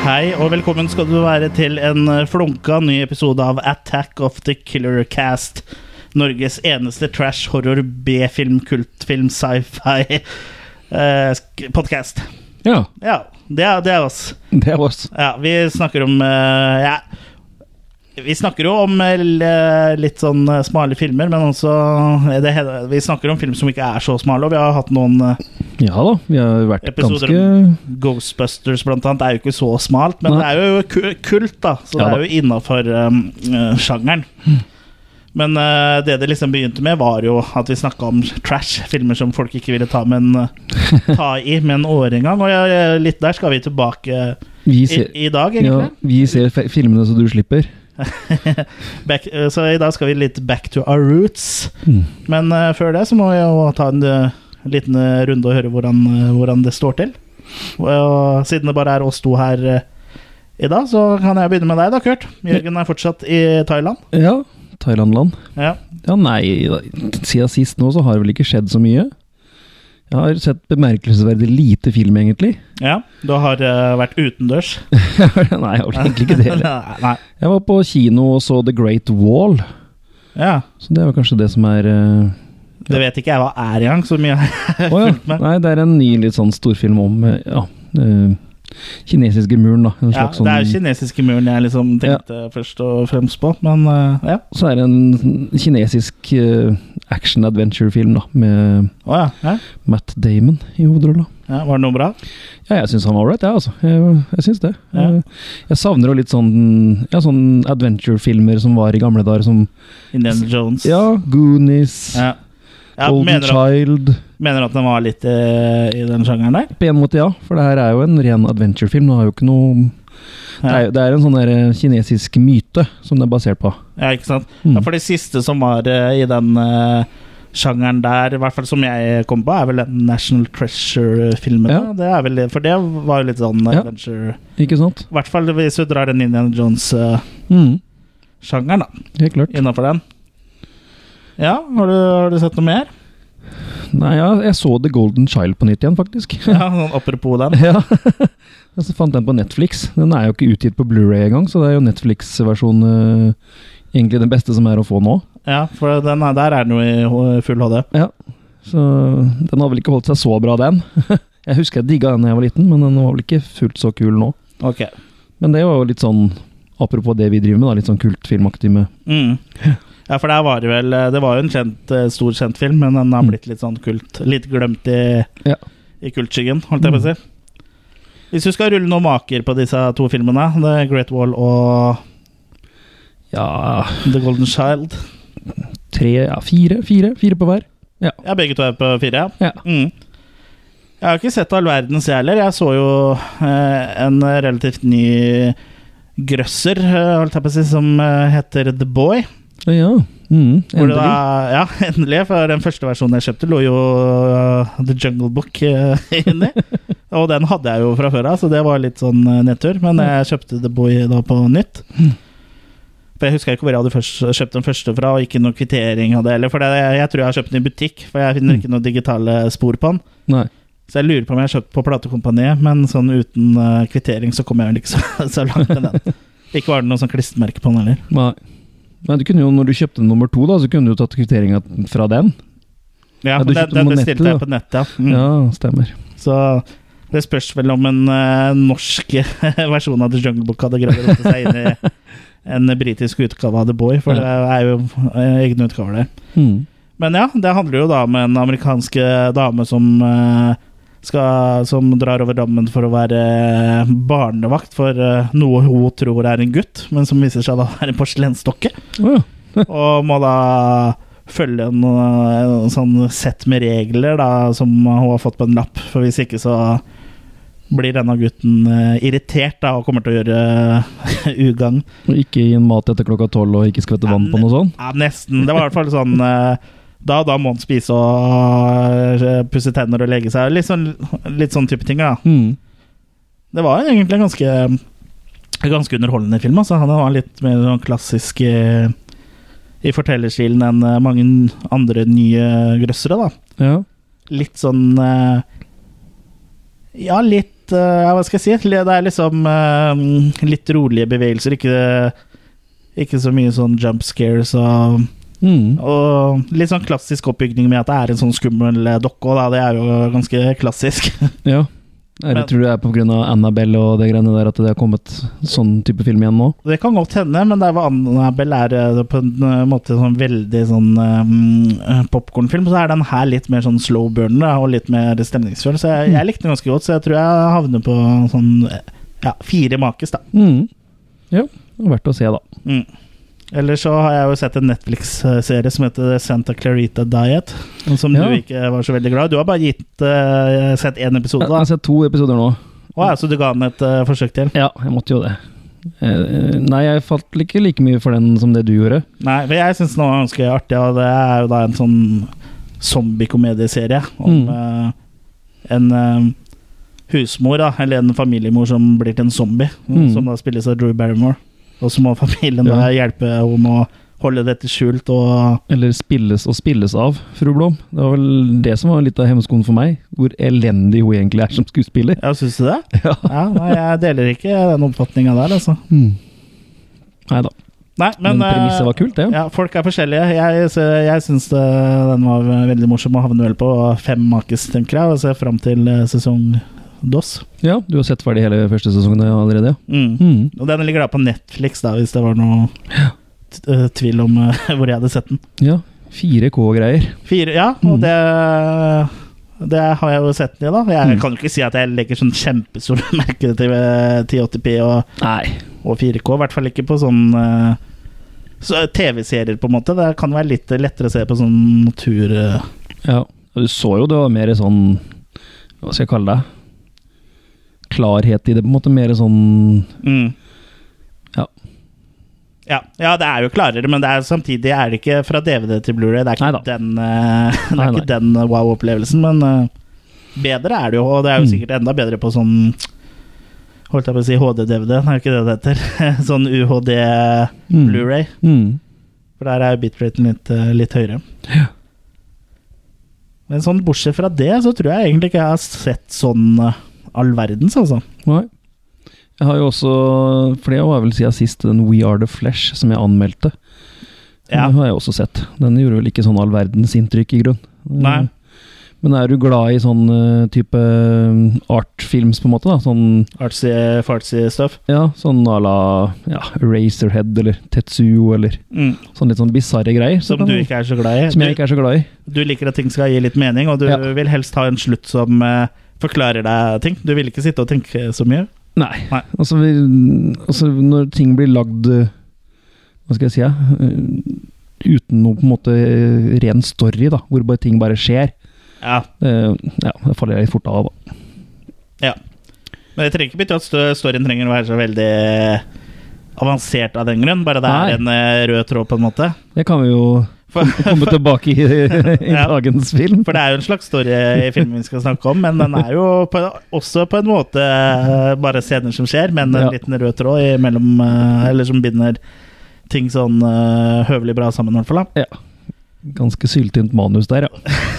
Hei og velkommen skal du være til en eh, flunka ny episode av Attack of the Killer Cast. Norges eneste trash, horror, B-film, kultfilm, sci-fi eh, sk- podcast. Ja, Ja, det er, det er oss. det er oss. Ja, vi snakker om eh, ja. Vi snakker jo om eh, l- litt sånn eh, smale filmer, men også eh, det, he- Vi snakker om film som ikke er så smale, og vi har hatt noen eh, Ja da, vi har vært Episoder ganske Ghostbusters blant annet er jo ikke så smalt, men Nei. det er jo ku- kult, da. Så det Ja da. Hmm. er jo innafor sjangeren. Men eh, det det liksom begynte med, var jo at vi snakka om trash. Filmer som folk ikke ville ta, men, eh, ta i med en åre engang. Og ja, litt der skal vi tilbake Vi i, ser, i dag, ja, egentlig. vi ser fe- filmene så du slipper. Back, eh, så i dag skal vi litt back to our roots. Mm. Men eh, før det så må vi jo ta en eh, liten eh, runde og høre hvordan, eh, hvordan det står til. Og, og siden det bare er oss to her eh, i dag, så kan jeg begynne med deg da, Kurt. Jørgen er fortsatt i Thailand. Ja, Thailandland. Ja. Ja, nei, da- siden sist nå så har det vel ikke skjedd så mye. Jeg har sett bemerkelsesverdig lite film, egentlig. ja. Du har eh, vært utendørs. nei, jeg har vel egentlig ikke det. heller. Nei. Jeg var på kino og så The Great Wall, Ja. så det var kanskje det som er eh, Det vet ikke jeg hva er engang, så mye Å ja. Nei, det er en ny litt sånn storfilm om eh, ja, eh, kinesiske muren, da. En ja, slags Det er jo sånn kinesiske muren jeg liksom tenkte først og fremst på, men eh, ja. Så er det en kinesisk eh, action adventure-film, da, med Å ja. ja. Matt Damon i hovedrolla. ja. Var det noe bra? Ja, jeg syns han var ålreit, jeg, altså. Jeg, jeg syns det. Ja. Jeg, jeg savner jo litt sånn Ja, sånn adventure-filmer som var i gamle dager, som Indiana Jones. Ja, Goonies, Ja. Ja, Golden mener, du- Child mener du at den var litt eh, i den sjangeren der? På en måte, ja. For det her er jo en ren adventure-film. Det har jo ikke noe det, er, Ja, det er en sånn der eh, kinesisk myte som det er basert på. ja ikke sant? Mm. Ja, for det siste som var eh, i den eh, sjangeren der, i hvert fall som jeg kom på, er vel den National Treasure-filmen. Ja. da. Det er vel, for det var jo litt sånn Ja. adventure Ikke sant? I hvert fall hvis du drar den Indiana Jones-sjangeren, Mm. da. Helt klart. Innafor den. Ja, har du, har du sett noe mer? Nei, ja, jeg så The Golden Child på nytt igjen, faktisk. Ja, sånn Apropos den. Ja. Jeg så fant den på Netflix. Den er jo ikke utgitt på Blu-ray engang, så det er jo Netflix-versjonen eh, egentlig den beste som er å få nå. Ja, for den er, der er den jo i H- full HD. Så den har vel ikke holdt seg så bra, den. Jeg husker jeg digga den da jeg var liten, men den var vel ikke fullt så kul nå. Ok. Men det var jo litt sånn Apropos det vi driver med, da, litt sånn kultfilmaktig med Mm. Ja, for der var det vel Det var jo en kjent, eh, stor kjent film, men den har Mm. blitt litt sånn kult Litt glemt i, Ja. Mm. i kultskyggen, holdt jeg på å si. Hvis du skal rulle noen maker på disse to filmene, The Great Wall og Ja The Golden Child Tre, ja, fire. Fire fire på hver. Ja, begge to er på fire, Ja. Mm. Jeg har ikke sett all verdens, jeg heller. Jeg så jo eh, en relativt ny grøsser, eh, holdt jeg på å si, som eh, heter The Boy. Ja, ja. Mm, Hvor det endelig. Da, ja, endelig. For den første versjonen jeg kjøpte, lå jo uh, The Jungle Book uh, inni. Og den hadde jeg jo fra før av, så det var litt sånn uh, nedtur. Men jeg kjøpte The Boy da på nytt. Hmm. For Jeg husker ikke hvor jeg hadde først, kjøpt den første fra, og ikke noe kvittering av det heller. For det, jeg, jeg tror jeg har kjøpt den i butikk, for jeg Hmm. finner ikke noen digitale spor på den. Nei. Så jeg lurer på om jeg har kjøpt på platekompaniet, men sånn uten uh, kvittering så kom jeg vel ikke så, så langt med den. Ikke var det noe sånn klistremerke på den heller. Nei. Nei, du kunne jo, når du kjøpte nummer to, da, så kunne du tatt kvitteringa fra den. Ja, Ja, men du den, den kjøpte den på bestilte nettet, jeg på nettet, ja. Mm. Ja, stemmer. Så det spørs vel om en eh, norsk versjon av The Jungle Book hadde greid å rote seg inn i en britisk utgave av The Boy, for Ja. det er jo eh, egne utgaver der. Mm. Men ja, det handler jo da om en amerikansk eh, dame som eh, skal, som drar over dammen for å være eh, barnevakt for eh, noe hun tror er en gutt, men som viser seg da å være en porselensdokke. Å ja. Og må da følge en, eh, en sånn sett med regler da, som hun har fått på en lapp. For hvis ikke så blir denne gutten eh, irritert da, og kommer til å gjøre eh, ugagn. Og Ikke gi en mat etter klokka tolv og ikke skvette vann på noe sånt? Ja, nesten. Det var i hvert fall sånn eh, da, da må han spise og eh, pusse tenner og legge seg. Litt sånn, litt sånn type ting. da Mm. Det var egentlig en ganske, ganske underholdende film. Altså. Han var litt mer sånn klassisk eh, i fortellerstilen enn eh, mange andre nye grøssere. Da. Ja. Litt sånn eh, Ja, litt litt eh, ja, Hva skal jeg si? Det er liksom eh, litt rolige bevegelser. Ikke, ikke så mye sånn jump scares og, Mm. og litt sånn klassisk oppbygning med at det er en sånn skummel eh, dokke òg, da. Det er jo ganske klassisk. Ja. Jeg Men- tror det er pga. Annabelle og det greiene der at det har kommet sånn type film igjen nå. Det kan godt hende, men der hvor Annabelle er eh, på en eh, måte sånn veldig sånn um, popkornfilm, så er den her litt mer sånn slow burner da, og litt mer stemningsfull. Så jeg, jeg likte den ganske godt, så jeg tror jeg havner på sånn eh, ja, fire makes, da. Mm. Ja, det er verdt å se, da. Mm. Eller så har jeg jo sett en Netflix-serie som heter Santa Clarita Diet, og som Ja. du ikke var så veldig glad i. Du har bare gitt, eh, sett én episode, Jeg da. har sett to episoder nå. Å ja, så du ga den et eh, forsøk til? Ja, jeg måtte jo det. Eh, Nei, jeg falt ikke like mye for den som det du gjorde. Nei, men jeg syns den var ganske artig, og det er jo da en sånn zombiekomedieserie om Mm. eh, en eh, husmor, da, eller en familiemor som blir til en zombie, Mm. som da spilles av Drew Barrymore. Og så må familien Ja. da hjelpe henne å holde dette skjult, og Eller spilles og spilles av, fru Blom. Det var vel det som var litt av hemskoen for meg. Hvor elendig hun egentlig er som skuespiller. ja, syns du det? Ja. Ja, nei, jeg deler ikke den oppfatninga der, altså. Mm. Nei da. Nei, men, eh, Men, premisset var kult, det. ja, folk er forskjellige. Jeg, så jeg syns det- den var veldig morsom og havner vel på fem makes, tenker jeg. Og ser fram til eh, sesong DOS. Ja, du har sett ferdig hele første sesongen allerede? Mm. Mm. Og den ligger da på Netflix, da, hvis det var noe t- eh, tvil om eh, hvor jeg hadde sett den. Ja. 4K-greier. Fire, ja, og Mm. det, det har jeg jo sett den i, da. Jeg Mm. kan jo ikke si at jeg legger sånn kjempestore merker til eh, 1080p og, Nei. og 4K, i hvert fall ikke på sånn eh, så TV-serier, på en måte. Det kan være litt lettere å se på sånn natur... eh. Ja. Du så jo det var mer sånn Hva skal jeg kalle det? Klarhet i det, på en måte. Mer sånn Mm. Ja. ja. Ja, det er jo klarere, men det er, samtidig er det ikke fra DVD til Blu-ray. Det er ikke Neida. den, eh, det er Nei, ikke den wow-opplevelsen, men eh, bedre er det jo. Og det er jo Mm. sikkert enda bedre på sånn Holdt jeg på å si HD-DVD, det er jo ikke det det heter. sånn UHD mm. Blu-ray. Mm. For der er jo bitraten litt, eh, litt høyere. Ja. Men sånn bortsett fra det, så tror jeg egentlig ikke jeg har sett sånn eh, all verdens, altså. Nei. Jeg har jo også flere var vel siden sist, den We Are The Flesh som jeg anmeldte. Ja. Den har jeg også sett. Den gjorde vel ikke sånn all verdens inntrykk, i grunn. Nei. Men er du glad i sånn eh, type eh, art-films, på en måte? da? Sånn, Artsy, fartsy stuff. ja, sånn à la ja, Razorhead eller Tetsuo eller Mm. sånn litt sånn bisarre greier. så Som du kan- ikke er så glad i. som jeg ikke er så glad i. Du liker at ting skal gi litt mening, og du Ja. vil helst ha en slutt som eh, forklarer deg ting. Du vil ikke sitte og tenke så mye. Nei. Nei. Altså, vi, altså, når ting blir lagd eh, Hva skal jeg si? ja, eh, Uten noe på en måte eh, ren story, da, hvor bare ting bare skjer. Ja, eh, ja, Da faller jeg litt fort av. Da. Men det trenger ikke bety at stø- storyen trenger å være så veldig avansert av den grunn. Bare det Nei. er en eh, rød tråd, på en måte. Det kan vi jo For, komme tilbake i, i Ja. dagens film. for det er jo en slags story i filmen vi skal snakke om, men den er jo på, også på en måte eh, bare scener som skjer, men en Ja. liten rød tråd imellom, eh, eller som binder ting sånn eh, høvelig bra sammen, i hvert fall. da. Ganske syltynt manus der, ja.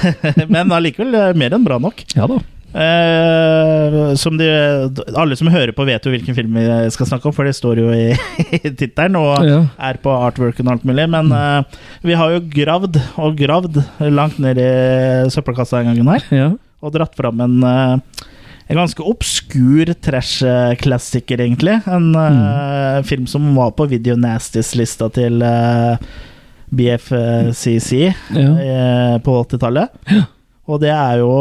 Men allikevel eh, mer enn bra nok. Ja da. Eh, som de, alle som hører på, vet jo hvilken film vi skal snakke om, for det står jo i, i tittelen og Ja. er på artworken og alt mulig. Men eh, vi har jo gravd og gravd langt ned i søppelkassa en gang her ja. og dratt fram en, eh, en ganske obskur trash-klassiker, egentlig. En eh, film som var på Video Nasties-lista til eh, BFCC ja. eh, på 80-tallet. Og det er jo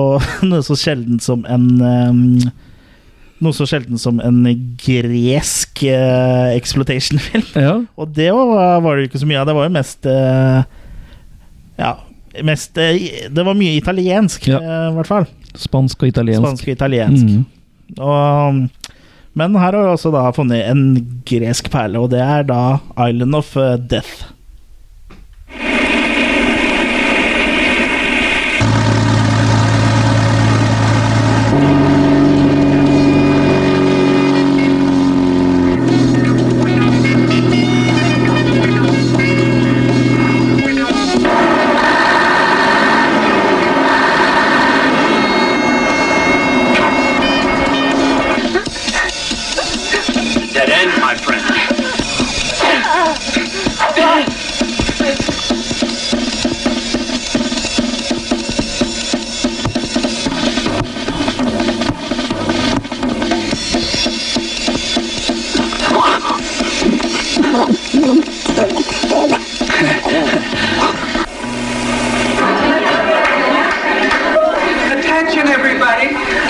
noe så sjeldent som en eh, Noe så sjelden som en gresk eh, exploitation-film. ja. Og det var, var det jo ikke så mye av. Det var jo mest eh, Ja, mest eh, i- Det var mye italiensk, Ja. eh, i hvert fall. Spansk og italiensk. Spansk og italiensk. Mm. Og, men her har vi også da funnet en gresk perle, og det er da Island of eh, Death.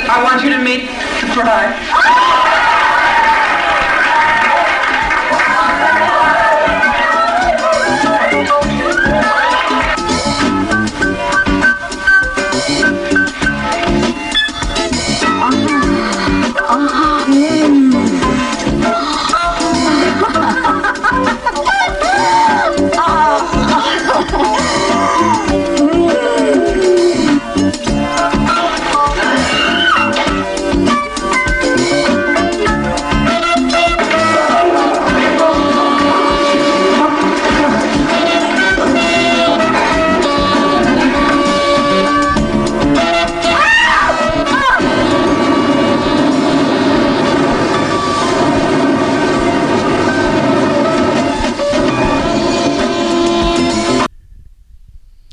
That's right.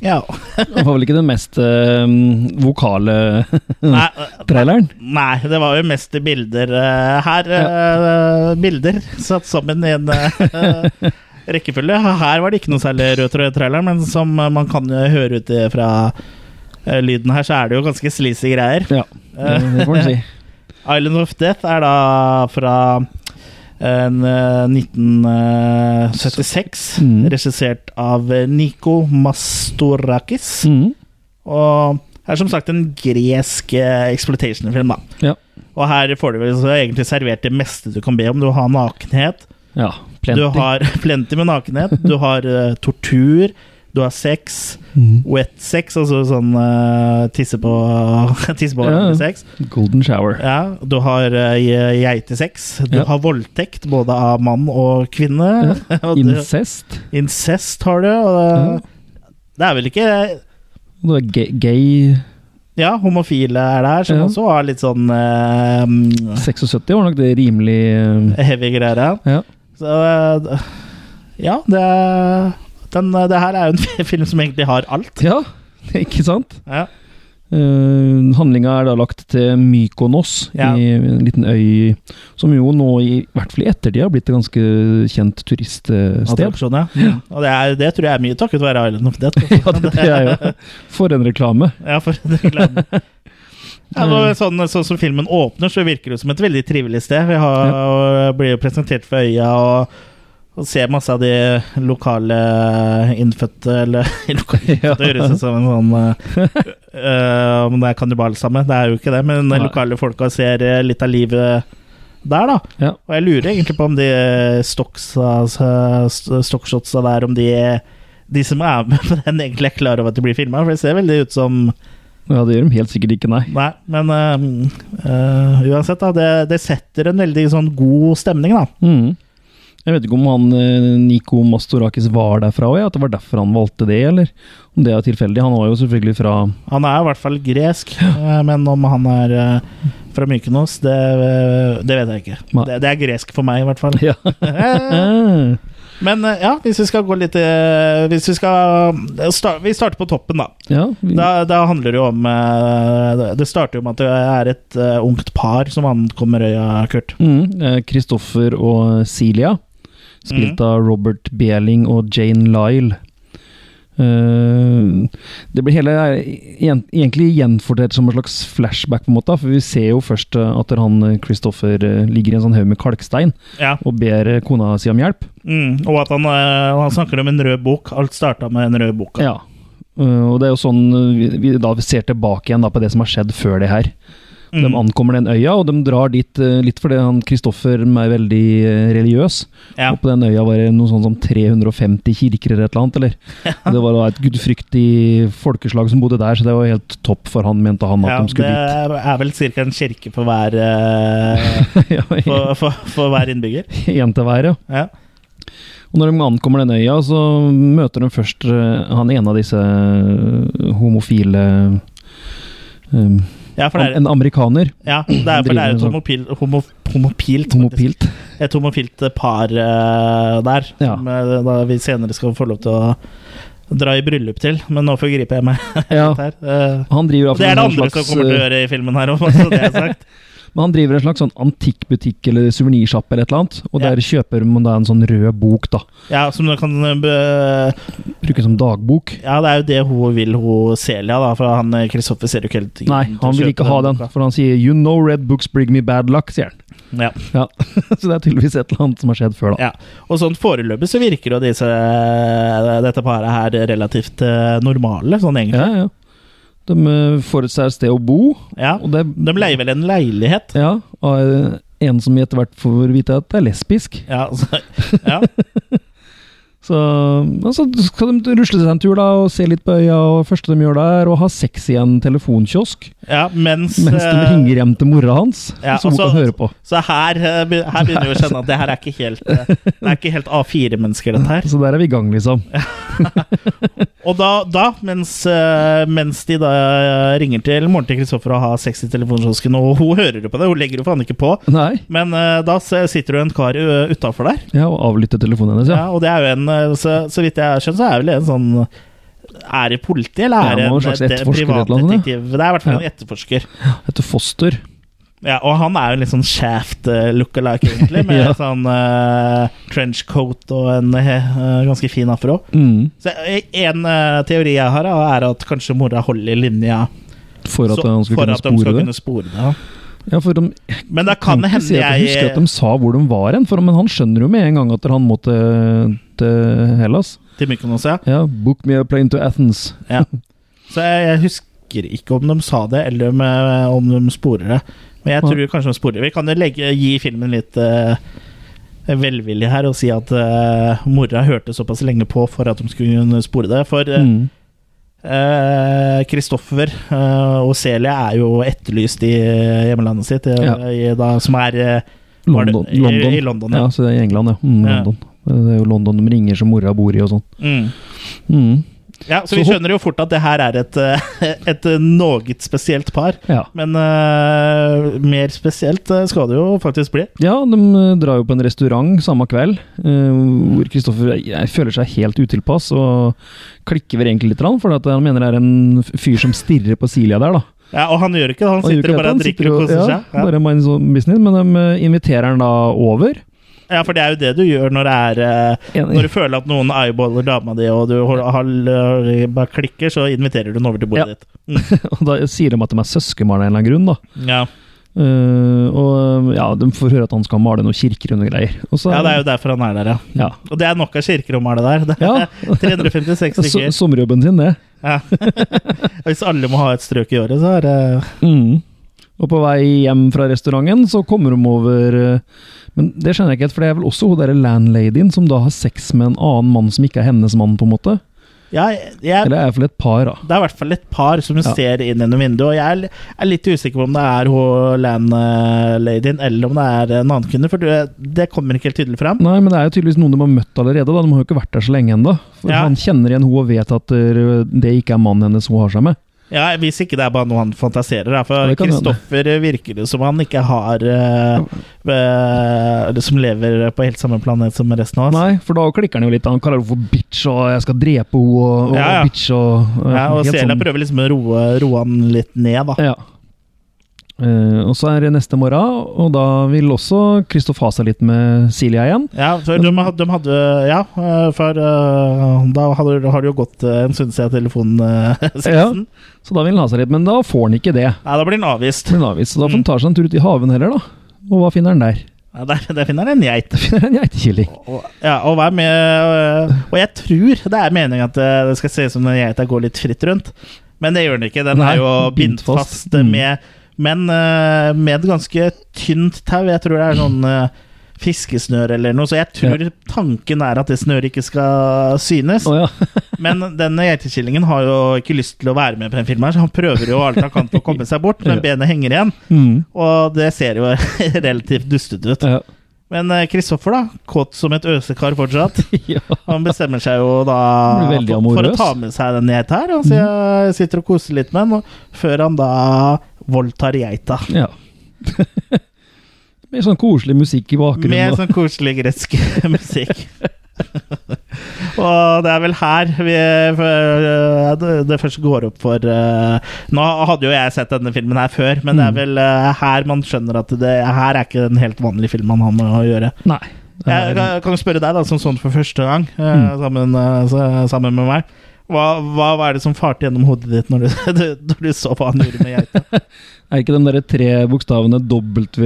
Ja. Det var vel ikke den mest eh, vokale Mm. Nei, traileren? nei, det var jo mest bilder eh, her. eh, bilder satt sammen i en eh, rekkefølge. Her var det ikke noe særlig rød tråd i traileren, men som man kan jo høre ut fra eh, lyden her, så er det jo ganske sleazy greier. Ja, det, Eh. det får en si. Island of Death er da fra en, eh, 1976, Mm. regissert av Niko Mastorakis. Mm. Og det er som sagt en gresk eh, exploitation-film, da. Ja. Og her får du vel så egentlig servert det meste du kan be om. Du har nakenhet, ja plenty. du har plenty med nakenhet, du har eh, tortur, du har sex, Mm. wet sex, altså sånn eh, tisse på Tisse på Ja. sex. Golden shower. Ja, du har uh, geitesex, du Ja. har voldtekt både av mann og kvinne. og du, Incest. incest har du, og Ja. det er vel ikke Og det er gay, gay Ja, homofile er der, som Ja. også har litt sånn eh, 76 var nok det rimelig eh, heavy greier. her. Ja. Så eh, ja, det, den, det her er jo en film som egentlig har alt. Ja, ikke sant? Ja, Uh, Handlinga er da lagt til Mykonos, Ja. i en liten øy som jo nå, i hvert fall i ettertid, har blitt et ganske kjent turiststed. Attraksjon, ja. Mm. Og det, er, det tror jeg er mye takket være Island of Death. altså. Ja, det, det er jo For en reklame! Ja, for en reklame. Ja, og sånn, sånn som filmen åpner, så virker det som et veldig trivelig sted. Vi har, og blir jo presentert for øya og, og ser masse av de lokale innfødte Eller lokale Ja. Det høres ut som en sånn eh, eh, Om det er kannibalsamme, det er jo ikke det, men de Nei. lokale folka ser eh, litt av livet der, da. Ja. Og jeg lurer egentlig på om de stocksa- st- stockshotsa der, om de, de som er med på den, egentlig er klar over at de blir filma. For det ser veldig ut som Ja, det gjør de helt sikkert ikke, nei. Nei, men eh, eh, uansett, da. Det, det setter en veldig sånn god stemning, da. Mm. Jeg vet ikke om han eh, Niko Mastorakis var derfra òg, at det var derfor han valgte det, eller om det er tilfeldig. Han var jo selvfølgelig fra Han er i hvert fall gresk, eh, men om han er eh, fra Mykonos, det, eh, det vet jeg ikke. Nei. Det, det er gresk for meg, i hvert fall. Ja. men eh, ja, hvis vi skal gå litt eh, Hvis vi skal eh, sta- Vi starter på toppen, da. ja vi, Da, da handler det jo om eh, Det starter jo med at det er et eh, ungt par som ankommer øya, Kurt. Mm, eh, Kristoffer og Celia, spilt Mm. av Robert Behling og Jane Lyle. Eh, det blir hele er igjen- egentlig gjenfortalt som en slags flashback, på en måte. For vi ser jo først eh, at han eh, Kristoffer eh, ligger i en sånn haug med kalkstein Ja. og ber eh, kona si om hjelp. Mm, og at han, eh, han snakker om en rød bok. Alt starta med en rød bok. Ja. Uh, og det er jo sånn uh, vi, vi da ser tilbake igjen da på det som har skjedd før det her. De Mm, ankommer den øya, og de drar dit uh, litt fordi han Kristoffer er veldig uh, religiøs. ja. Og på den øya var det noe sånn som 350 kirker eller et eller annet. Eller? Og Det var da et gudfryktig folkeslag som bodde der, så det var helt topp for han, mente han, at Ja, de skulle det er vel ca. en kirke for hver, eh, dit. ja, for, for, for hver innbygger. en til hver, ja. Ja. Og når de ankommer den øya, så møter de først eh, han ene av disse eh, homofile um, Ja, for det er, En amerikaner. ja, det er, for det er et Driver homopil, homo, homopilt, faktisk. Homopilt. Et homofilt par eh, der, Ja. som eh, da vi senere skal få lov til å dra i bryllup til. Men nå forgriper jeg meg Ja, litt her. Eh, han driver i hvert det fall er det en andre slags, som kommer til å gjøre i filmen her òg, så det er sagt. eh, Men han driver en slags sånn antikkbutikk eller suvenirsjappe eller et eller annet, og Ja. der kjøper man da en sånn rød bok, da. Ja, som du kan eh, be- Bruker som dagbok. Ja, det er jo det hun vil, hun Celia, da. For han eh, Kristoffer ser jo ikke helt Nei, han vil ikke ha den, for han sier 'You know red books bring me bad luck', sier han. Ja. Så det er tydeligvis et eller annet som har skjedd før, da. ja. Og sånn foreløpig så virker jo disse, eh, dette paret her relativt eh, normale, sånn egentlig. Ja, ja. De eh, får seg et sted å bo, Ja. og det De leier vel en leilighet? Ja, og eh, en som etter hvert får vite at det er lesbisk. Ja, altså, ja. Så altså, skal de rusle seg en tur da og se litt på øya, og det første de gjør der, og ha sex i en telefonkiosk ja mens, mens de eh, ringer hjem til mora hans, ja, som hun altså- kan høre på. Så her, eh, be- her begynner vi å skjønne at det her er ikke helt, eh, det er ikke helt A4-mennesker, dette her. Så der er vi i gang, liksom. Og da, da mens, eh, mens de da eh, ringer til moren til Kristoffer og har sex i telefonkiosken, og hun hører jo på det, hun legger jo faen ikke på, Nei, men eh, da se- sitter jo en kar utafor der, ja, og avlytte telefonen hennes, ja. ja. og det er jo en eh, så, så vidt jeg skjønner, så er vel det en sånn er det politi, eller er Ja, det han var en, en slags eh, de- etterforsker eller et eller annet, privatdetektiv? Det er i hvert fall en etterforsker. Etter foster. Ja, og han er jo en litt sånn shaft eh, lookalike, egentlig, med Ja. sånn eh, trenchcoat og en eh, ganske fin afro. Mm. Så eh, En eh, teori jeg har, da, er at kanskje mora holder linja For at Så- han skulle for kunne at de skal spore det. kunne spore det. Ja, for de Men da kan kan det hende si at jeg husker at jeg de sa hvor de var hen, for, men han skjønner jo med en gang at han må til, til Hellas. eh, Til Mykonos, ja. Ja, 'Book me a plane to Athens'. Så jeg, jeg husker ikke om de sa det, eller om, eh, om de sporer det. Men jeg Ja. tror kanskje de sporer det. Vi kan jo legge, gi filmen litt eh, velvillig her og si at eh, mora hørte såpass lenge på for at de skulle kunne spore det. For eh, Mm. eh, Kristoffer eh, og Celia er jo etterlyst i hjemlandet sitt, eh, i, da, som er eh, var det- London. i- London. I London ja. ja. så det er i England, ja. Mm, Ja. London. Det er jo London de ringer som mora bor i og sånn. Mm. Mm. Ja, så, Så vi hopp- skjønner jo fort at det her er et, eh, et eh, noget spesielt par. Ja. Men eh, mer spesielt eh, skal det jo faktisk bli. ja, de eh, drar jo på en restaurant samme kveld, eh, hvor Kristoffer eh, jeg føler seg helt utilpass, og klikker vel egentlig litt, grann, for at han mener det er en fyr som stirrer på Silja der, da. Ja, Og han gjør ikke det, han Han gjør sitter ikke og bare dette, han drikker og koser sitter ja, seg. Ja. Bare mind his own business, men de eh, inviterer han da over. ja, for det er jo det du gjør når det er eh, En, Når du føler at noen eyeballer dama di, og du hol- hal- bare klikker, så inviterer du den over til bordet Ja. ditt. og da sier de at de er søskenbarn av en eller annen grunn, da. Ja. Eh, og ja, de får høre at han skal male noen kirker og noen greier. Og så, ja, det er jo derfor han er der, ja. Ja. Og det er nok av kirker å male der. Det Ja. er 356 Så, stykker. sommerjobben sin, det. Ja. Hvis alle må ha et strøk i året, så er det Mm. Og på vei hjem fra restauranten så kommer de over eh, Men det skjønner jeg ikke helt, for det er vel også hun derre landladyen som da har sex med en annen mann som ikke er hennes mann, på en måte? Ja, jeg, jeg Eller er det iallfall et par, da. Det er i hvert fall et par som Ja. ser inn gjennom vinduet, og jeg er, er litt usikker på om det er hun landladyen eller om det er en annen kvinne, for det, det kommer ikke helt tydelig fram. Nei, men det er jo tydeligvis noen de har møtt allerede, da. De har jo ikke vært der så lenge ennå. For Ja. han kjenner igjen hun og vet at eh, det ikke er mannen hennes hun har seg med. Ja, Hvis ikke det er bare noe han fantaserer, da, Ja, for det kan hende. Kristoffer virker det som han ikke har eh, eh, Eller som lever på helt samme planet som resten av oss. Nei, for da klikker han jo litt. Han kaller henne for bitch, og 'jeg skal drepe henne', og, og Ja, ja. bitch og eh, Ja, og helt Celia sånn- prøver liksom å roe, roe han litt ned, da. Ja. Eh, og så er det neste morgen, og da vil også Kristoff ha seg litt med Silja igjen. Ja, for de, had- de hadde Ja, eh, for eh, da hadde, har det jo gått eh, en stund siden telefonsexen. Ja. Så da vil han ha seg litt, men da får han ikke det. Nei, da blir han avvist. Blir han avvist. Så da får han ta seg en tur ut i haven heller, da. Og hva finner han der? Ja, der, der finner han en geit. Da finner han en geitekilling. Og, ja, og, hva er med, øh, og jeg tror det er meningen at øh, det skal se ut som den geita går litt fritt rundt, men det gjør den ikke. Den Nei, er jo bindt bindt fast. fast Mm. med, men øh, med et ganske tynt tau. Jeg tror det er sånn øh, fiskesnør eller noe, så jeg tror tanken er at det snøret ikke skal synes. Å ja. Men denne geitekillingen har jo ikke lyst til å være med på den filmen, her, så han prøver jo alt han kan for å komme seg bort, men Ja. benet henger igjen, Mm. og det ser jo relativt dustete ut. ja. Men eh, Kristoffer, da. Kåt som et øsekar fortsatt. ja. Han bestemmer seg jo da Blir veldig for, for å amorøs. Mm. ta med seg den geita her. Han sier, sitter og koser litt med den, og- før han da voldtar geita. ja. Med sånn koselig musikk i bakgrunnen. Med og- sånn koselig gresk musikk. Og det er vel her vi, eh, det- det først går opp for eh, Nå hadde jo jeg sett denne filmen her før, men det Mm. er vel eh, her man skjønner at det her er ikke den helt vanlige filmen han har med å gjøre. Nei. det Jeg er- kan- kan jo spørre deg, da, som sånn for første gang, eh, Mm. sammen, eh, så- sammen med meg. Hva, hva, hva er det som farte gjennom hodet ditt når du, du, når du så hva han gjorde med geita? Er ikke de derre tre bokstavene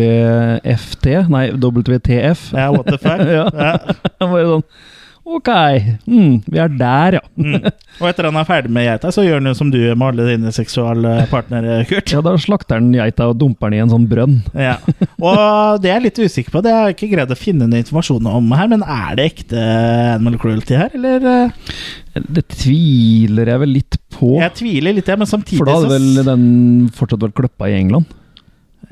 WFT? Nei, WTF. Ja, what the fuck? Ja. Ja. Bare sånn Ok, mm, vi er der, ja. Mm. Og etter han er ferdig med geita, så gjør han jo som du gjør med alle dine seksuelle partnere, Kurt. Ja, Da slakter han geita og dumper den i en sånn brønn. Ja. Og det er jeg litt usikker på, det har jeg ikke greid å finne noe informasjon om her, men er det ekte animal cruelty her, eller? eh? Det tviler jeg vel litt på. Jeg tviler litt, jeg, men samtidig For da hadde så vel den fortsatt vært kløppa i England.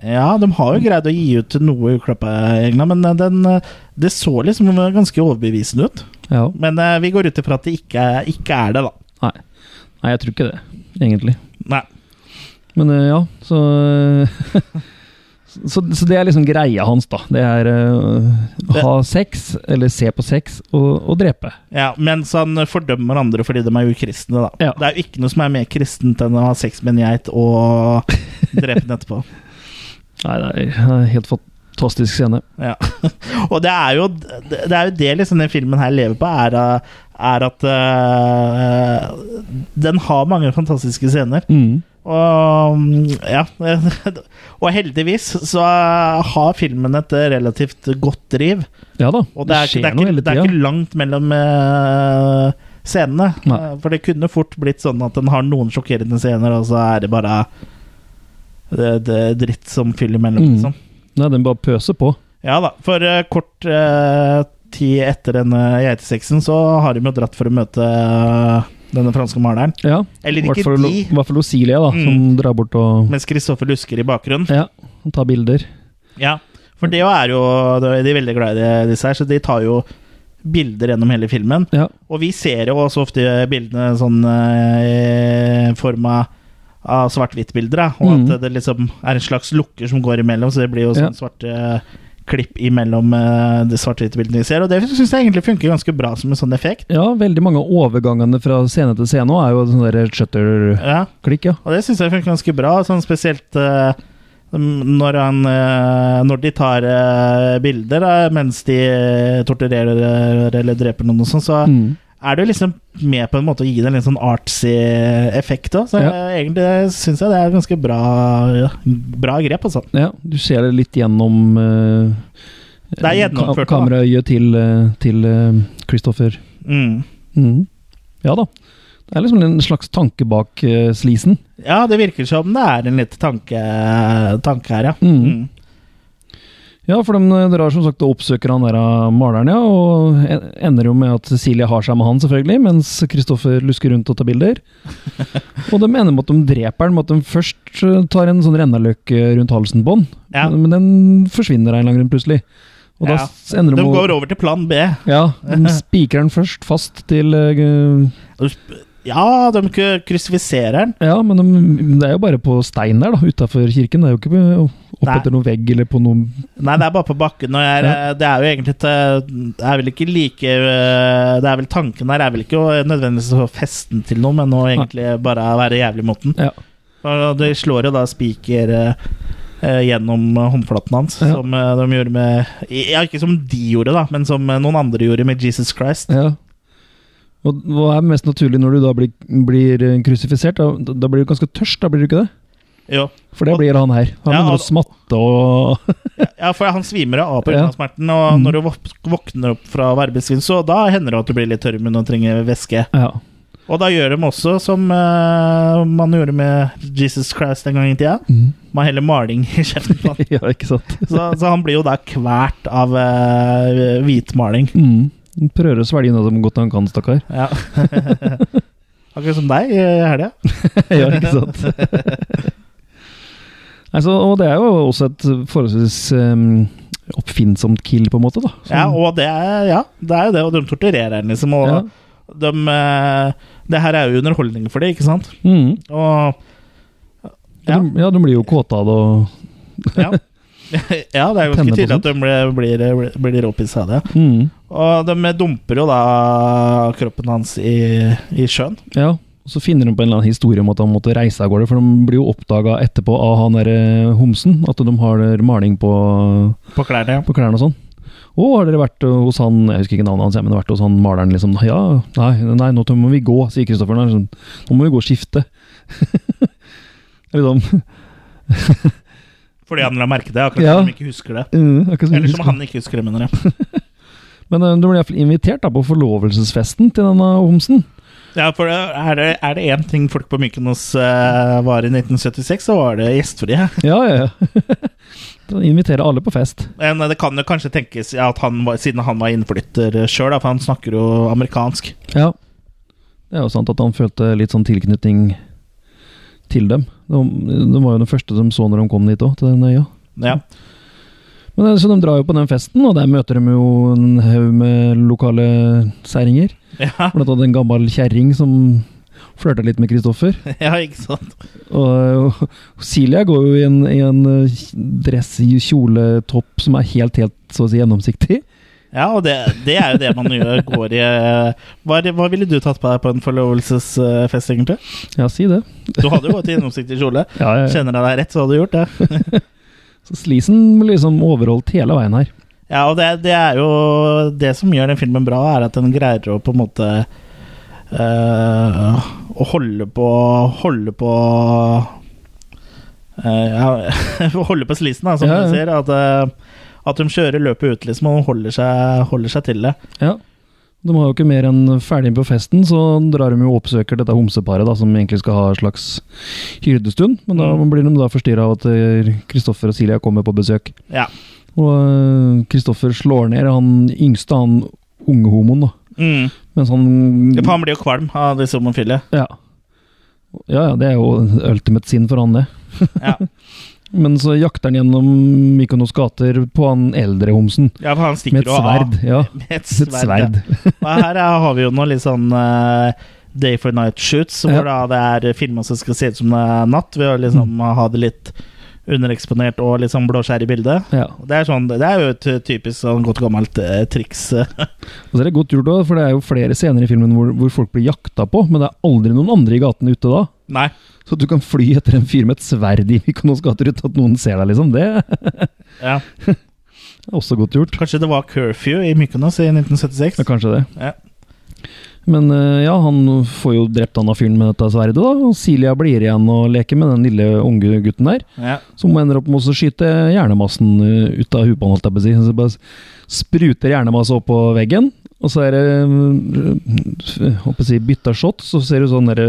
Ja, de har jo greid å gi ut noe uklappa i England, men eh, den, eh, det så liksom ganske overbevisende ut. Ja. Men eh, vi går ut ifra at det ikke, er- ikke er det, da. Nei, jeg tror ikke det, egentlig. Nei. Men eh, ja, så så, så det er liksom greia hans, da. Det er eh, Det- ha sex, eller se på sex, og, og drepe. Ja, Mens han eh, fordømmer andre fordi de er ukristne, da. Ja. Det er jo ikke noe som er mer kristent enn å ha sex med en geit og drepe den etterpå. Nei, det er en helt fantastisk scene. Ja. Og det er jo det, er jo det liksom den filmen her lever på, er, eh, er at eh, den har mange fantastiske scener. Mm. Og mm, ja Og heldigvis så har filmen et relativt godt driv. Ja da, Og det er, det, er ikke, det er ikke langt mellom eh, scenene. Nei. Eh, For det kunne fort blitt sånn at den har noen sjokkerende scener, og så er det bare eh, det, det er dritt som fyller mellom. Mm. Liksom. Nei, den bare pøser på. Ja da. For eh, kort eh, tid etter denne geitesexen så har de jo dratt for å møte eh, denne franske maleren. Ja, Eller I hvert ikke fall- de, Mm. i hvert fall Osilia, da, som drar bort og mens Kristoffer lusker i bakgrunnen. Ja, og tar bilder. Ja, For det er jo De er veldig glad i det, disse her, så de tar jo bilder gjennom hele filmen. Ja. Og vi ser jo også ofte bildene sånn eh, i form av av svart-hvitt-bilder, da. og Mhm. at det liksom er en slags lukker som går imellom, så det blir jo Ja. sånn svarte klipp imellom eh, de svart-hvite bildene vi ser. Og det syns jeg egentlig funker ganske bra som en sånn effekt. ja, veldig mange av overgangene fra scene til scene også er jo sånn der shutter-klikk, Ja, ja. og det syns jeg funker ganske bra, sånn spesielt eh, når, han, eh, når de tar eh, bilder da, mens de torturerer eller dreper noen og sånn, så Mm. er du liksom med på en måte å gi det en litt sånn artsy effekt òg. Så Ja. eh, egentlig syns jeg det er et ganske bra, ja, bra grep. Altså. Ja, du ser det litt gjennom eh, Det er gjennomført, ka kameraøyet til, eh, til eh, Christopher. Mm. Mm. Ja da. Det er liksom en slags tanke bak eh, slisen. Ja, det virker som det er en litt tanke, tanke her, ja. Mm. Mm. Ja, for de drar som sagt og oppsøker han der av maleren, ja, og en- ender jo med at Cecilie har seg med han, selvfølgelig, mens Kristoffer lusker rundt og tar bilder. Og de ender med at de dreper han, med at de først eh, tar en sånn rennaløkke rundt halsen på han, ja. men den forsvinner av en eller annen grunn plutselig. Og da Ja, s- ender de De å- går over til plan B. Ja, de spiker den først fast til eh, Ja, de k- krusifiserer den. Ja, men de, det er jo bare på stein der, da, utafor kirken. Det er jo ikke på- opp Nei. etter noen vegg eller på noen Nei, det er bare på bakken. Og jeg, er- Det er jo egentlig et, eh, Det er vel ikke like eh, Det er vel Tanken her er vel ikke å nødvendigvis å feste den til noe, men å egentlig bare være jævlig mot den. Ja. Og de slår jo da spiker eh, eh, gjennom eh, håndflaten hans, Ja. som eh, de gjorde med Ja, ikke som de gjorde, da, men som eh, noen andre gjorde med Jesus Christ. Ja. Og hva er mest naturlig når du da blir, blir eh, krusifisert? Da, da blir du ganske tørst, da blir du ikke det? Jo. For det Og- blir han her. Han Ja, begynner og- å smatte og Ja, for han svimer av pga. Ja. av smerten, og Mm. når du våk- våkner opp fra varmesvinn, så da hender det at du blir litt tørr i munnen og trenger væske. Ja. Og da gjør de også som eh, man gjorde med Jesus Christ en gang i tida. Mm. Man heller maling i kjeften på han. ja, ikke sant? Så, så han blir jo da kvært av eh, hvitmaling. Mm. Han Prøver å svelge unna som godt han kan, stakkar. Ja. Akkurat som deg eh, i helga. ja, ikke sant? Nei, så, og det er jo også et forholdsvis eh, oppfinnsomt kill, på en måte. da. Som- Ja, og det er, ja, det er jo det. Og de torturerer henne, liksom. Og Ja. de, eh, det her er jo underholdning for dem, ikke sant? Mm. Og Ja, Ja. de- ja, de blir jo kåte av det og ja. ja, det er ganske Tenne på tydelig at de blir, eh, blir, blir råpissa av det. Mm. Og de dumper jo da kroppen hans i, i sjøen. Ja. Og så finner de på en eller annen historie om at han måtte reise av gårde, for de blir jo oppdaga etterpå av han derre homsen, at de har maling på, På klærne, ja. på klærne og sånn. Å, har dere vært ø, hos han Jeg husker ikke navnet hans, jeg, men vært hos han maleren, liksom. Ja, nei, nei nå må vi gå, sier Kristoffer. Nå er det sånn, nå må vi gå og skifte. liksom Fordi han la merke det, akkurat Ja. som de ikke husker det. mm, akkurat som- Eller som han ikke husker det, mener jeg. Men ø, du ble iallfall invitert da, på forlovelsesfesten til denne homsen. Ja, for er det- er det én ting folk på Mykonos eh, var i 1976, så var det gjestfrie. Ja, ja, ja. Da inviterer alle på fest. Men eh, det kan jo kanskje tenkes ja, at han var, siden han var innflytter eh, sjøl, for han snakker jo amerikansk. Ja. Det er jo sant at han følte litt sånn tilknytning til dem. De, de var jo den første de så når de kom dit òg, til den øya. Ja. Men eh, Så de drar jo på den festen, og der møter de jo en haug med lokale særinger. Ja, Blant annet en gammel kjerring som flørta litt med Kristoffer. ja, ikke sant? Og, eh, og Silja går jo i en, i en eh, dress, kjoletopp, som er helt, helt så å si gjennomsiktig. Ja, og det, det er jo det man gjør, går i eh, hva, er det- hva ville du tatt på deg på en forlovelsesfest, egentlig? Ja, si det. Du hadde jo gått i gjennomsiktig kjole. Ja, ja, ja. Kjenner jeg deg rett, så hadde du gjort det. Så Sleason blir liksom overholdt hele veien her. Ja, og det, det er jo Det som gjør den filmen bra, er at den greier å på en måte eh, Å holde på Holde på eh, ja, Holde på slisen, da, som Ja, ja. du sier. At, eh, at de kjører løpet ut, liksom, og holder seg, holder seg til det. Ja. De har jo ikke mer enn ferdig på festen, så drar de jo og oppsøker dette homseparet, da, som egentlig skal ha en slags hyrdestund. Men da Mm. blir de da forstyrra av at eh, Kristoffer og Silja kommer på besøk. Ja. Og eh, Kristoffer slår ned han yngste, han unge homoen, da. Mm. Mens han Ja, for han blir jo kvalm av disse homofile. Ja. ja, ja, det er jo ultimate sin for han, det. Ja. Men så jakter han gjennom Mykonos gater på han eldre homsen. ja, for han Med stikker et jo av. sverd. Ja, Med et et sverd. ja. sverd. Og her eh, har vi jo noe litt sånn eh, Day for night shoots, hvor da det er filmer som skal se ut som det er natt, ved å liksom ha det litt undereksponert og litt sånn blåskjær i bildet. Ja. Og Det er, sånn, det er jo et typisk sånn godt gammelt eh, triks. eh. Og så er det godt gjort også, for det er jo flere scener i filmen hvor, hvor folk blir jakta på, men det er aldri noen andre i gaten ute da. Nei. Så at du kan fly etter en fyr med et sverd i Mykonos gater uten at noen ser deg, liksom. Det er Ja. også godt gjort. Kanskje det var curfew i Mykonos i 1976? Ja, kanskje det. Ja. Men eh, ja, han får jo drept han av fyren med dette sverdet, da. Og Silja blir igjen og leker med den lille unge gutten der, Ja. som ender opp med å skyte hjernemassen eh, ut av huet på han, holdt jeg på å si. Så bare spruter hjernemasse opp på veggen. Og så er det eh, håper jeg å si, bytta shot, så ser du sånn derre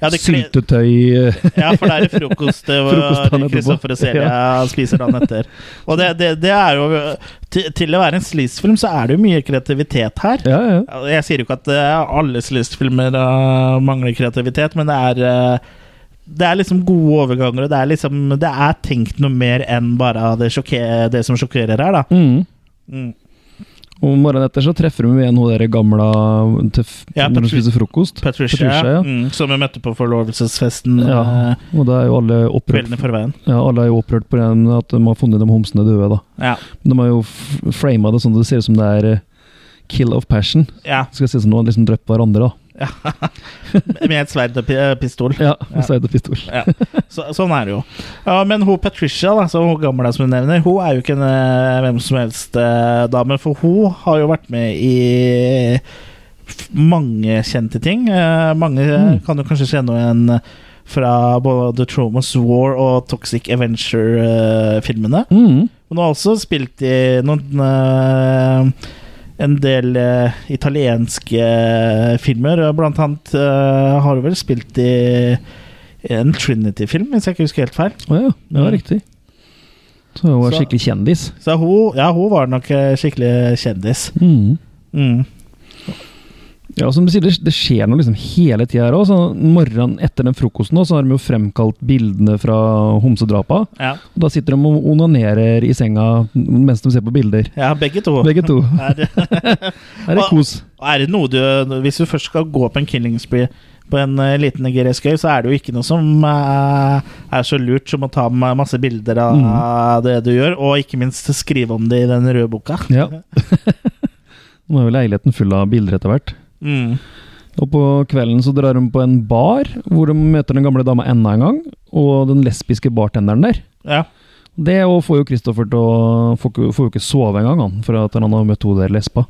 Ja, det kle- Syltetøy eh, ja, for det er det frokost eh, Frokost dagen hvor etterpå. Kristoffer og Celia spiser dagen etter. Og det, det, det er jo eh, til, til å være en sleaze-film, så er det jo mye kreativitet her. Ja, ja. Ja, Jeg sier jo ikke at eh, alle Celeste-filmer eh, mangler kreativitet, men det er eh, det er liksom gode overganger, og det er liksom Det er tenkt noe mer enn bare det, sjokke- det som sjokkerer her, da. Mm. Mm. Og om morgenen etter så treffer hun igjen hun der gamla til f Ja, når hun Patricia. spiser frokost. Patricia, Patricia, ja. mm, som vi møtte på forlovelsesfesten Ja. eh, Og da er jo alle opprørt, kvelden i forveien. ja, alle er jo opprørt på den at de har funnet de homsene døde. da. Ja. Men De har jo f- frama det sånn at det ser ut som det er eh, kill of passion. ja. Det skal se ut som de har liksom drept hverandre. da. Med et sverd og pi- eh, pistol. Ja, Ja. og så er det pistol. Ja. Så, sånn er det jo. Ja, men hun Patricia, da, som hun gamle som hun nevner, hun er jo ikke en eh, hvem som helst eh, dame. For hun har jo vært med i f- mange kjente ting. Eh, mange eh, Mm. kan jo kanskje kjenne henne fra både The Traumas War og Toxic eh, Adventure-filmene. Mm. Hun har også spilt i noen eh, en del eh, italienske eh, filmer. og Blant annet eh, har hun vel spilt i en Trinity-film, hvis jeg ikke husker helt feil. Å ja, det var Mm. riktig. Så hun er Så- skikkelig kjendis. Så Mm. hun, ja, hun var nok eh, skikkelig kjendis. Mm. Mm. Ja, som du sier, det, det skjer noe liksom hele tida her òg. Morgenen etter den frokosten også, så har de jo fremkalt bildene fra homsedrapa. Ja. Og da sitter de og onanerer i senga mens de ser på bilder. ja, begge to. Begge to. Er, Her er kos. er det noe du Hvis du først skal gå på en killing spree på en eh, liten Nigerisk øy, så er det jo ikke noe som eh, er så lurt som å ta med masse bilder av det du gjør, og ikke minst skrive om det i den røde boka. Ja. Nå er jo leiligheten full av bilder etter hvert. Mm. Og på kvelden så drar de på en bar, hvor de møter den gamle dama enda en gang, og den lesbiske bartenderen der. Ja. Det og får jo Kristoffer til å får, ikke- får jo ikke sove engang, han, for at han har møtt hun der lesba.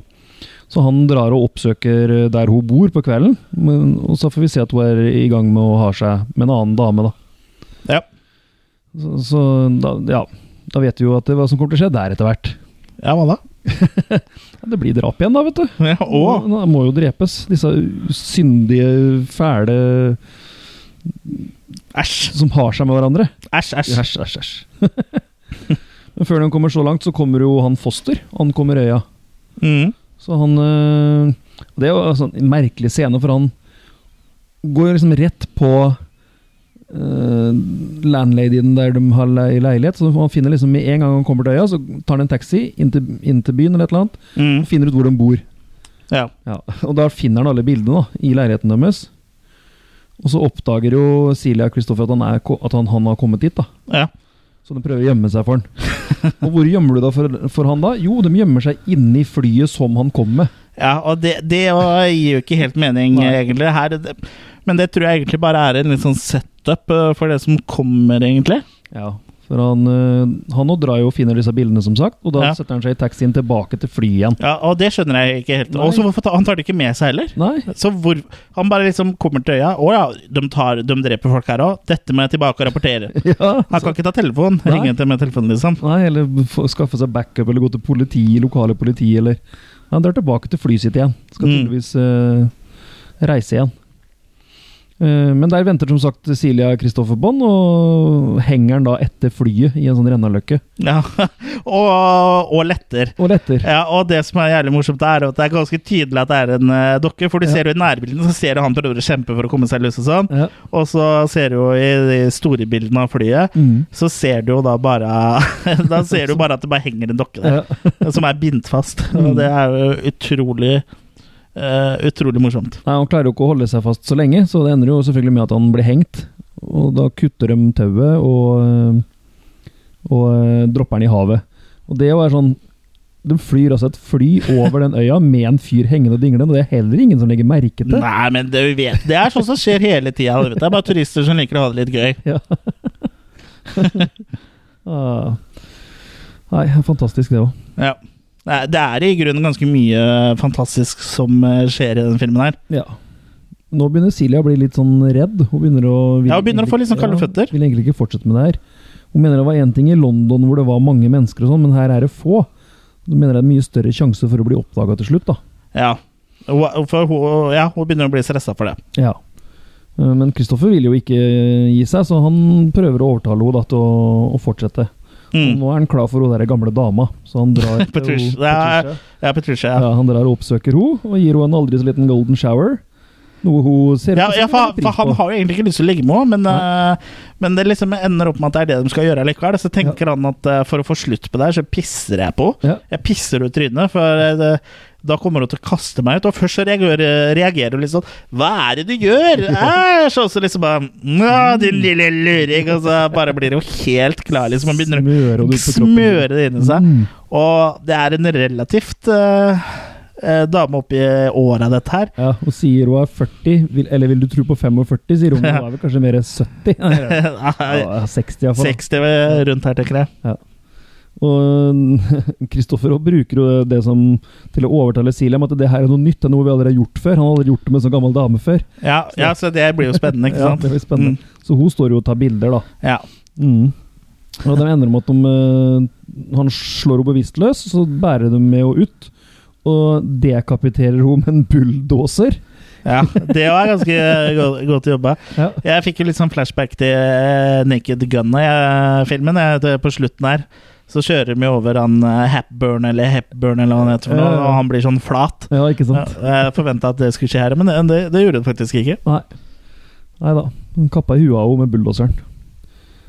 Så han drar og oppsøker eh, der hun bor på kvelden, men, og så får vi se at hun er i gang med å ha seg med en annen dame, da. Ja. Så, så da, ja, da vet vi jo at det, hva som kommer til å skje der etter hvert. ja, hva da? Ja, det blir drap igjen, da, vet du. Ja, å, De må jo drepes, disse syndige, fæle æsj! som har seg med hverandre. Æsj, æsj. Æsj, æsj, æsj. Men før de kommer så langt, så kommer jo han Foster. Ankommer øya. Mm. Så han øh, og Det er jo en sånn merkelig scene, for han går jo liksom rett på øh, landladyen der de har le leilighet. Så han finner liksom med en gang han kommer til øya, så tar han en taxi inn til, inn til byen eller et eller annet, Mm. og finner ut hvor de bor. Ja. Ja, og da finner han alle bildene da, i leiligheten deres. Og så oppdager jo Silja Kristoffer at, han, er, ko- at han, han har kommet dit. da. ja. Så de prøver å gjemme seg for han. Og hvor gjemmer du deg for, for han da? Jo, de gjemmer seg inni flyet som han kom med. Ja, og det, det jo gir jo ikke helt mening, Nei. egentlig. Her, det, men det tror jeg egentlig bare er en litt sånn setup eh, for det som kommer, egentlig. Ja. For han, eh, han nå drar jo og finner disse bildene, som sagt. Og da Ja. setter han seg i taxien tilbake til flyet igjen. Ja, Og det skjønner jeg ikke helt. Nei. Og så hvorfor ta, Han tar det ikke med seg heller. Nei, Så hvor, Han bare liksom kommer til øya. 'Å ja, de, tar, de dreper folk her òg. Dette må jeg tilbake og rapportere.' ja. Han kan Så, ikke ta telefon. Nei. Ringe til med telefonen, liksom. nei eller få- skaffe seg backup, eller gå til politi, lokale politi, eller Han drar tilbake til flyet sitt igjen. Skal Mm. tydeligvis eh, reise igjen. Eh, men der venter som sagt Silja Kristoffer Bond, og henger han da etter flyet i en sånn rennaløkke. Ja. og, og letter. Og letter. Ja, og det som er jævlig morsomt, er at det er ganske tydelig at det er en eh, dokke. For du Ja. ser jo i nærbildene, så ser du han prøver å kjempe for å komme seg løs og sånn. Ja. Og så ser du jo i de store bildene av flyet, Mm. så ser du jo da bare Da ser du bare at det bare henger en dokke der, Ja. som er bindt fast. Mm. Og det er jo utrolig eh, utrolig morsomt. Nei, Han klarer jo ikke å holde seg fast så lenge, så det ender jo selvfølgelig med at han blir hengt. Og da kutter de tauet og, øh, og øh, dropper den i havet. Og det er jo er sånn De flyr altså et fly over den øya med en fyr hengende og dinglende, og det er heller ingen som legger merke til. Nei, men det, vi vet, det er sånn som skjer hele tida. Det er bare turister som liker å ha det litt gøy. Ah. Nei, fantastisk det òg. Ja. Nei, Det er i grunnen ganske mye fantastisk som eh, skjer i den filmen her. Ja. Nå begynner Silja å bli litt sånn redd. Hun begynner å, vil Ja, hun begynner å få egentlig- litt sånn kalde ja, føtter. Vil egentlig ikke fortsette med det her. Hun mener det var én ting i London hvor det var mange mennesker, og sånn, men her er det få. Hun mener det er en mye større sjanse for å bli oppdaga til slutt. da. Ja. Hun- For hun, ja, hun begynner å bli stressa for det. Ja. Eh, Men Kristoffer vil jo ikke gi seg, så han prøver å overtale henne da, til å, å fortsette. Og Mm. Nå er han klar for hun der gamle dama, så han drar til Patricia. hun- Patricia. Ja, Patricia. Ja, Ja. han drar og oppsøker henne, og gir henne en aldri så liten golden shower. Noe hun ser Ja, på som ja hun for, setter for pris han på. har jo egentlig ikke lyst til å ligge med henne, men, eh, men det liksom ender opp med at det er det de skal gjøre likevel. Så tenker han at eh, for å få slutt på det her, så pisser jeg på henne. Ja. Jeg pisser henne i trynet, for eh, det, da kommer hun til å kaste meg ut. Og først så reagerer, reagerer hun litt sånn Hva er det du gjør? Æsj! Og så liksom bare Nå, Mm. din lille luring! Og så bare blir hun helt klar, liksom. Og begynner å Smører hun ut på kroppen. smøre det inni seg. Mm. Og det er en relativt eh, eh, dame oppi åra, dette her. Ja, og sier hun er 40, vil, eller vil du tro på 45, sier hun. men Hun er vel kanskje mer 70? Nei, ja, Nei, ja, 60 i hvert fall. 60 rundt her, tenker jeg. Og Kristoffer også bruker jo det som til å overtale Silja om at det her er noe nytt, det er noe vi aldri har gjort før. Han har aldri gjort det med en sånn gammel dame før. Ja, ja, så det blir jo spennende, ikke Ja, sant? Mm. det blir spennende. Så hun står jo og tar bilder, da. Ja. Mm. Og de ender med at de, eh, han slår henne bevisstløs, så bærer de med henne ut. Og dekapiterer hun med en bulldoser. ja. Det var ganske go- godt jobba. Ja. Jeg fikk jo litt sånn flashback til eh, Naked Gun-filmen på slutten her. Så kjører vi over han eh, Hepburn eller Hepburn eller hva han heter, for Ja, noe, ja. og han blir sånn flat. Ja, ikke Ja, sant? Jeg forventa at det skulle skje her, men det, det, det gjorde det faktisk ikke. Nei. Nei da. Han kappa i huet av henne med bulldoseren.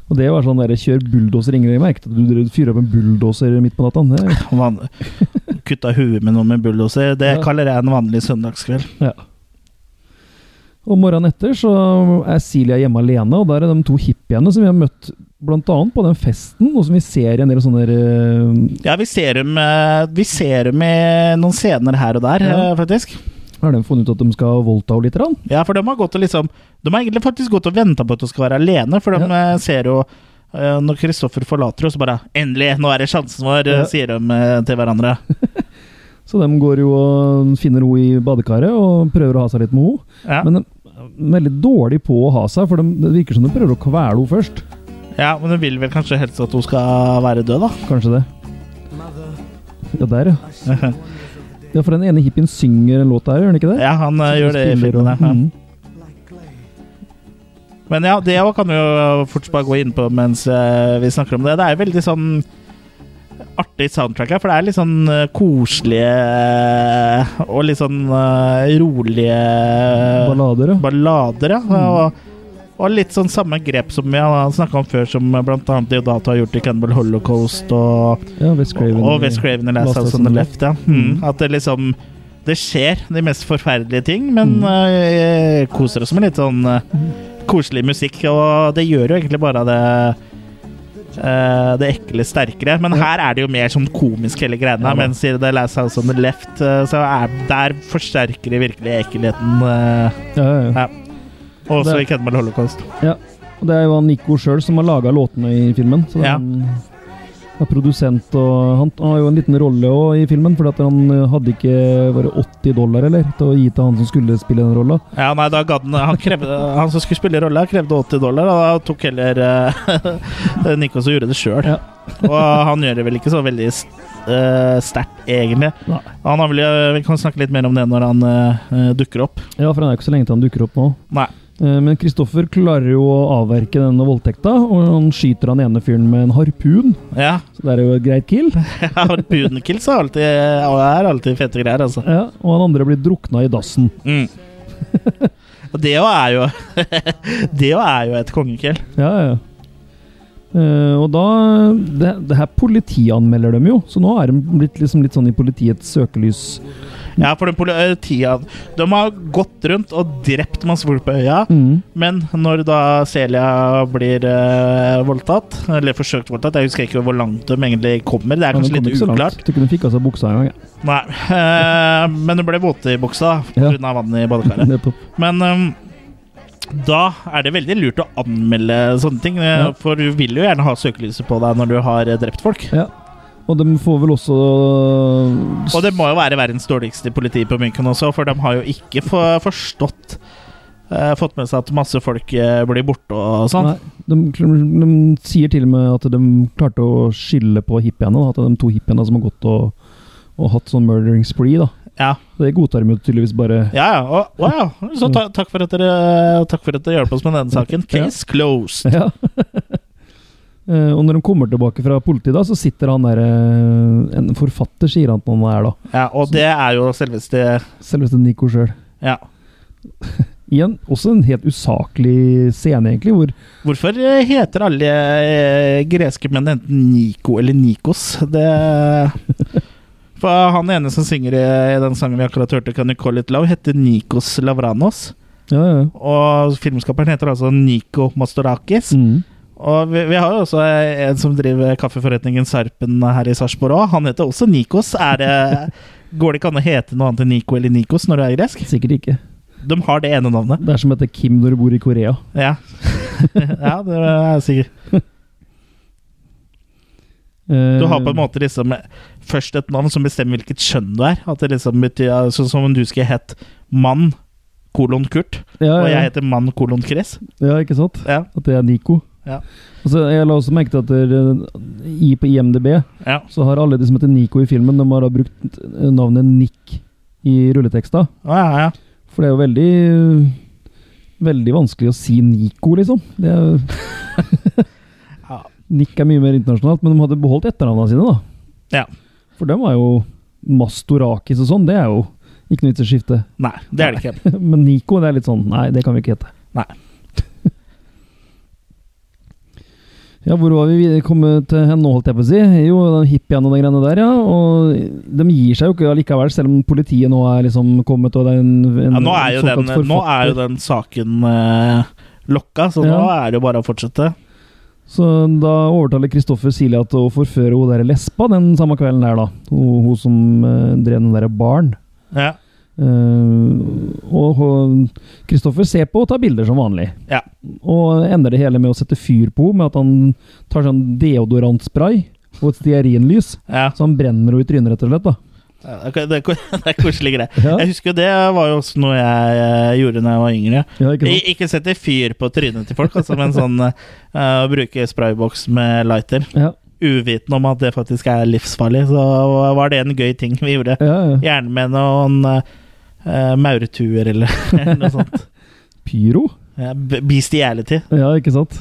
Og det var sånn der, kjør bulldoser Ingrid. Jeg merket at du drev- fyrer opp en bulldoser midt på natta. Det, Og han Kutta huet med noen med bulldoser. Det Ja. kaller jeg en vanlig søndagskveld. og morgenen etter så er Celia hjemme alene, og der er de to hippiene som vi har møtt blant annet på den festen, og som vi ser i en del sånne der, eh, Ja, vi ser dem, eh, vi ser dem i noen scener her og der, Ja. eh, faktisk. Har de funnet ut at de skal voldta henne litt? Rann? Ja, for de har gått og liksom De har egentlig faktisk gått og venta på at du skal være alene, for de eh, ser jo eh, når Kristoffer forlater oss, bare 'Endelig, nå er det sjansen vår', eh, Ja. sier de eh, til hverandre. Så de går jo og finner henne i badekaret og prøver å ha seg litt med henne. Ja, Men de er veldig dårlig på å ha seg, for de, det virker som de prøver å kvele henne først. ja men de vil vel kanskje helst at hun skal være død, da. Kanskje det. Ja, der, ja. Ja, for den ene hippien synger en låt der, gjør han ikke det? Ja, han eh, gjør det i Spiller filmen. og- ja. Ja. Mhm. Men ja, det også kan vi jo fort bare gå inn på mens eh, vi snakker om det. Det er jo veldig sånn artig soundtrack her, for det er litt sånn eh, koselige eh, og litt sånn eh, rolige Eh, Ballader, ja. ballader, Mm. ja. Og, og litt sånn samme grep som vi har snakka om før, som bl.a. Deodato har gjort i Cannibal Holocaust og, ja West Craven. og Wes Craven i Last House on the Left. Ja. Mm. Mm. At det liksom det skjer de mest forferdelige ting, men Mm. eh, jeg koser oss med litt sånn eh, koselig musikk. Og det gjør jo egentlig bare det eh, det ekle sterkere. Men her er det jo mer sånn komisk, hele greia. Ja da. mens i The Last House on the Left, eh, så er, der forsterker de virkelig ekkelheten. eh, Ja, ja, ja. ja. Og også i Det- Cannibal Holocaust. Og det er jo han Nico sjøl som har laga låtene i filmen. Så det er Ja. han er produsent, og han har jo en liten rolle også i filmen, fordi at han eh, hadde ikke bare 80 dollar eller, til å gi til han som skulle spille den rolla. Ja, nei, da ga den, han, krevde, han som skulle spille rolla, krevde 80 dollar, og da tok heller eh, Nico som gjorde det sjøl. Ja. og han gjør det vel ikke så veldig s- eh, sterkt, egentlig. Nei. Han har vel, eh, vi kan snakke litt mer om det når han eh, dukker opp. Ja, for han er jo ikke så lenge til han dukker opp nå. Nei. Eh, Men Kristoffer klarer jo å avverke denne voldtekta, og han skyter han ene fyren med en harpun. Ja, Så det er jo et greit kill. Harpunekill er alltid, er alltid fete greier, altså. Ja, og han andre blir drukna i dassen. Mm. Og det jo er jo Det jo er jo et kongekill. Ja, ja. Eh, og da det, det her politianmelder dem jo, så nå er de blitt liksom litt sånn i politiets søkelys. Ja, for den politiet De har gått rundt og drept masse folk på øya. Mm. Men når da Celia blir eh, voldtatt, eller forsøkt voldtatt Jeg husker ikke hvor langt de egentlig kommer. Det er Men de kanskje kom litt ikke så langt. uklart. Tror ikke de fikk av seg buksa engang. jeg. Nei, eh, Men hun ble våte i buksa pga. Ja. av vannet i badekaret. Nettopp. Men eh, da er det veldig lurt å anmelde sånne ting. eh, Ja. For du vil jo gjerne ha søkelyset på deg når du har eh, drept folk. Ja. Og de får vel også Og det må jo være verdens dårligste politi på München også, for de har jo ikke for, forstått eh, Fått med seg at masse folk eh, blir borte og sånn. Nei, de, de sier til og med at de klarte å skylde på hippiene. da, At det er de to hippiene som har gått og, og hatt sånn murdering spree. da. Ja. Det godtar de jo tydeligvis bare. Ja, ja. Og- Wow. Så ta, takk, for at dere, takk for at dere hjelper oss med denne saken. Case closed. Ja. Eh, og når de kommer tilbake fra politiet, da, så sitter han der eh, En forfatter, sier han at han er, da. Ja, og det er jo selveste Selveste Nico sjøl. Ja. Igjen også en helt usaklig scene, egentlig, hvor Hvorfor eh, heter alle eh, greske menn enten Niko eller Nikos? Det For han ene som synger i i den sangen vi akkurat hørte, Can you call it love, heter Nikos Lavranos. Ja, ja. Og filmskaperen heter altså Niko Mastorakis. Mm. Og vi, vi har jo også en som driver kaffeforretningen Sarpen her i Sarpsborg òg. Han heter også Nikos. Er det, går det ikke an å hete noe annet enn Nico eller Nikos når du er gresk? Sikkert ikke. De har det ene navnet. Det er som heter Kim når du bor i Korea. Ja, ja det er sikkert. Eh, Du har på en måte liksom først et navn som bestemmer hvilket kjønn du er. At det liksom betyr, ja, Sånn som om du skulle hett mann kolon Kurt, ja, og ja, jeg heter mann kolon Chris. ja, ikke sant? Ja, At det er Nico. Ja. Og så jeg la også merke til at dere, i, på IMDb ja. så har alle de som heter Nico i filmen, de har da brukt eh, navnet Nick i rulleteksta. Å, ja, ja. For det er jo veldig Veldig vanskelig å si Nico, liksom. Det er, Ja. Nick er mye mer internasjonalt, men de hadde beholdt etternavnene sine, da. Ja. For dem var jo Mastorakis og sånn, det er jo ikke noe vits i å skifte. Nei, det er det ikke. Men Nico, det er litt sånn Nei, det kan vi ikke hete. Nei. ja, hvor var vi? Vi kom til hen nå, holdt jeg på å si. Jo, den hippien og de greiene der, ja. Og de gir seg jo ikke allikevel, selv om politiet nå er liksom kommet og det er en, en Ja, nå, er jo den, såkalt nå er jo forfatter. den saken eh, lokka, så nå Ja. er det jo bare å fortsette. Så da overtaler Kristoffer Silja til å forføre hun der lesba den samme kvelden der, da. Hun, hun som eh, drev den derre baren. Ja. Eh, og og Kristoffer ser på og tar bilder som vanlig. Ja. Og ender det hele med å sette fyr på henne med at han tar sånn deodorantspray og et stearinlys. ja. Så han brenner henne i trynet, rett og slett. da. Det er- det er ko- det er koselig, det. Ja, Jeg husker jo det var jo også noe jeg eh, gjorde da jeg var yngre. ja ikke sant? Ik ikke sette fyr på trynet til folk, altså, men sånn eh, å bruke sprayboks med lighter. Ja, Uvitende om at det faktisk er livsfarlig, så var det en gøy ting vi gjorde. ja, ja. Gjerne med noen eh, maurtuer eller noe sånt. Pyro? Ja, b- Bestiality. Ja, ikke sant?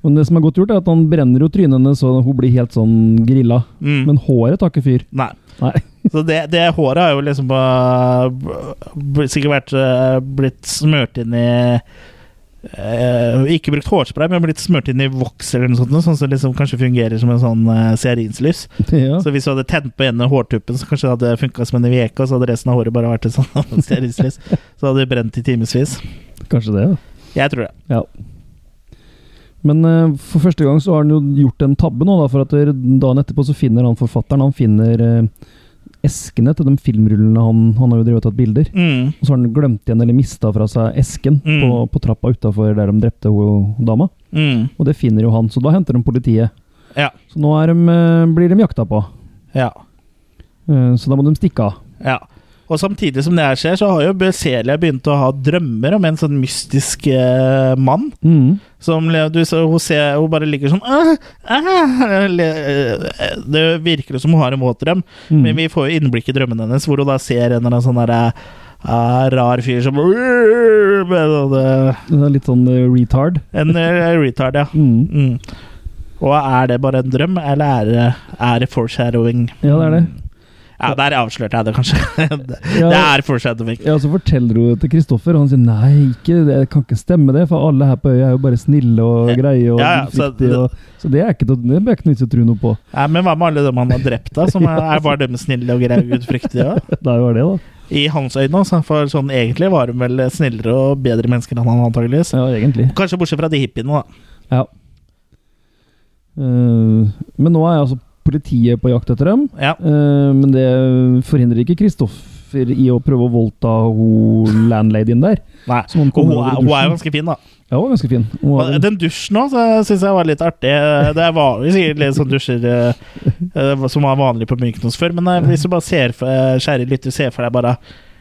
Men det som er godt gjort, er at han brenner jo trynet hennes, så hun blir helt sånn grilla. Mm. Men håret tar ikke fyr. Nei. Nei. Så det, det håret har jo liksom bare b- sikkert vært eh, blitt smurt inn i eh, Ikke brukt hårspray, men blitt smurt inn i voks eller noe sånt, noe, sånn som liksom kanskje fungerer som en sånn eh, stearinslys. Ja, Så hvis du hadde tent på ene hårtuppen, så kanskje det hadde funka som en Ivieka, og så hadde resten av håret bare vært en sånn stearinslys. Så hadde det brent i timevis. kanskje det. Ja. Jeg tror det. Men eh, for første gang så har han jo gjort en tabbe nå, da, for at der- dagen etterpå så finner han forfatteren Han finner eh, eskene til de filmrullene han, han har jo drevet og tatt bilder. Mm. Og så har han glemt igjen, eller mista fra seg, esken Mm. på, på trappa utafor der de drepte hun dama. Mm. Og det finner jo han, så da henter de politiet. Ja. Så nå er de, eh, blir de jakta på. Ja. Eh, Så da må de stikke av. Ja. Og samtidig som det her skjer, så har jo Be- Celia begynt å ha drømmer om en sånn mystisk eh, mann. Mm. Som le- du, så hun, ser, hun bare ligger sånn «Åh, åh», le- eh, Det virker jo som hun har en våt drøm, Mm. men vi får jo innblikk i drømmen hennes, hvor hun da ser en eller annen sånn derre eh, rar fyr som med sånne- Det er litt sånn eh, retard. En eh, retard, ja. Mm. Mm. Og er det bare en drøm, eller er det, er det foreshadowing? Ja, det er det. Ja, der avslørte jeg det kanskje. det, Ja. det er foreshadowing. Ja, Så forteller hun det til Kristoffer, og han sier nei, ikke, det kan ikke stemme det, for alle her på øya er jo bare snille og greie og Ja, ja, så gudfryktige. Så, så det er ikke noe, det er ikke noe vits i å tro noe på. Nei, men hva med alle dem han har drept, da? Som er, er bare dem snille og greie og gudfryktige? da? Det er jo det, da. I hans øyne, altså. For sånn egentlig var de vel snillere og bedre mennesker enn han antageligvis. Ja, egentlig. Kanskje bortsett fra de hippiene, da. Ja. Eh, men nå er altså politiet på jakt etter dem, Ja. eh, men det forhindrer ikke Kristoffer i å prøve å voldta hun landladyen der. Nei. Som han Og kom hun over er, i hun er jo dusjen. ganske fin, da. Ja, hun var ganske fin. Hun var, Og Den dusjen òg syns jeg var litt artig. Det var jo sikkert litt sånn dusjer eh, eh, som var vanlig på Mykonos før, men eh, hvis du bare ser for, eh, kjære lytter, ser for deg bare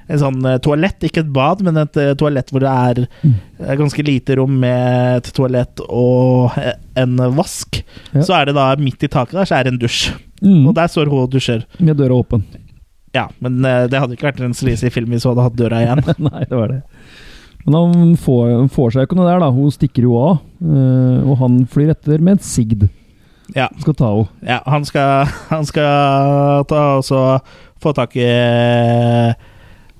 en sånn eh, toalett, ikke et bad, men et eh, toalett hvor det er Mm. eh, ganske lite rom med et toalett og eh, en vask, Ja. så er det da midt i taket der, så er det en dusj. Og mm, der står hun og dusjer. med døra åpen. Ja, men eh, det hadde ikke vært en sleazy film hvis hun hadde hatt døra igjen. Nei, det var det. Men han får, hun får seg jo ikke noe der, da. Hun stikker jo av. eh, og han flyr etter med et sigd. Ja. Skal ta henne. Ja, han skal, han skal ta og så få tak i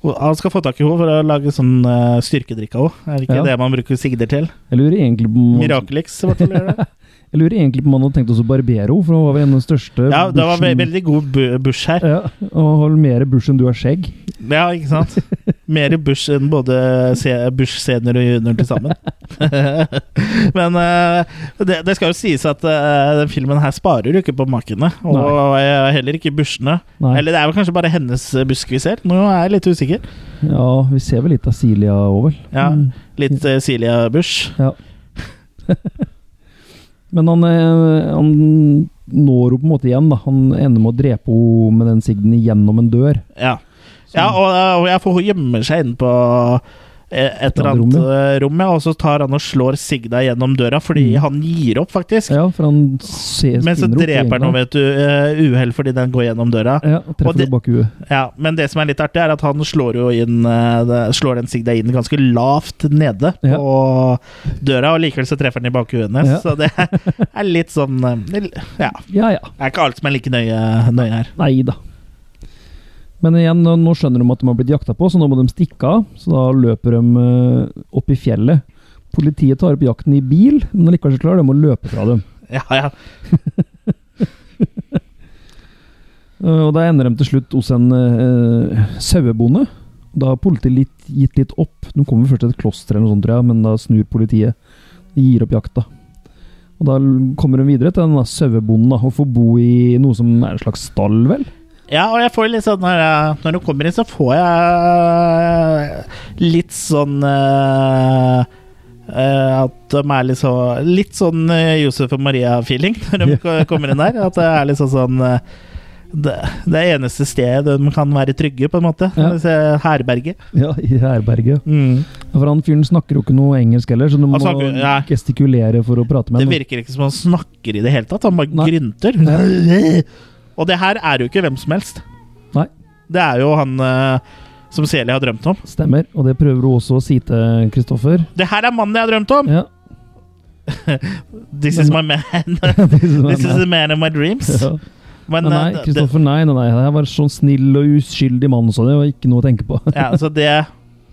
Han skal få tak i henne for å lage sånn eh, styrkedrikk av henne. Er det ikke Ja. det man bruker sigder til? Jeg lurer egentlig på om han- Mirakelix, i hvert fall. gjør det. jeg lurer egentlig på om han hadde tenkt oss å barbere henne, for hun var vel en av den største Ja, det var ve bushen- veldig god bu- bush her. Ja, og hold mer bush enn du har skjegg. Ja, ikke sant? Mer bush enn både se- bush senior og junior til sammen. Men eh, det, det skal jo sies at eh, den filmen her sparer jo ikke på makene. Og eh, heller ikke bushene. Nei. Eller det er vel kanskje bare hennes eh, busk vi ser. Nå er jeg litt usikker. Ja, vi ser vel litt av Silja òg, vel. Ja, Mm. Litt eh, Silja Bush. Men han, eh, han når henne på en måte igjen, da. Han ender med å drepe henne med den sigden gjennom en dør. eh, Ja, ja og, og jeg får hun gjemmer seg inne på et eller annet eh, rom, ja, og så tar han og slår Sigda gjennom døra, fordi Mm. han gir opp, faktisk. Ja, for han ser Men så spinner opp i dreper han England. noe ved et u- eh, uhell fordi den går gjennom døra. Ja, Og treffer det- det bak huet. Ja, Men det som er litt artig, er at han slår jo inn eh, det- Slår den Sigda inn ganske lavt nede på Ja. døra, og likevel så treffer han i bakhuet hennes. Ja. Så det er litt sånn eh, det- Ja. Ja ja. Det er ikke alt som er like nøye, nøye her. Nei da. Men igjen, nå- nå skjønner de at de har blitt jakta på, så nå må de stikke av. Så da løper de eh, opp i fjellet. Politiet tar opp jakten i bil, men allikevel så klarer de å løpe fra dem. Ja, ja. Eh, Og da ender de til slutt hos en eh, sauebonde. Da har politiet litt, gitt litt opp. De kommer først til et kloster, eller noe sånt, tror jeg, men da snur politiet. De gir opp jakta. Og Da l- kommer de videre til denne sauebonden da, og får bo i noe som er en slags stall, vel? Ja, og jeg får litt sånn Når, jeg, når hun kommer inn, så får jeg litt sånn eh, eh, At de er litt sånn Litt sånn eh, Josef og Maria-feeling når de ko- kommer inn der. At det er litt sånn sånn eh, det, det eneste stedet de kan være trygge, på en måte. Ja. Hvis jeg- Herberget. Ja, i herberget. Ja, For han fyren snakker jo ikke noe engelsk heller, så du Han må snakker- nei. gestikulere for å prate med Det ham. virker ikke som han snakker i det hele tatt. Han bare Nei. grynter. Og det her er jo ikke hvem som helst. Nei. Det er jo han eh, som Celia har drømt om. Stemmer, og det prøver hun også å si til Kristoffer. Det her er mannen jeg har drømt om! Ja. This is my man. Det er sånn, This is nei. the man of my dreams. Ja. Men, Nei, nei, eh, det, Kristoffer, nei, nei, nei. Jeg var en sånn snill og uskyldig mann, så det var ikke noe å tenke på. ja, så det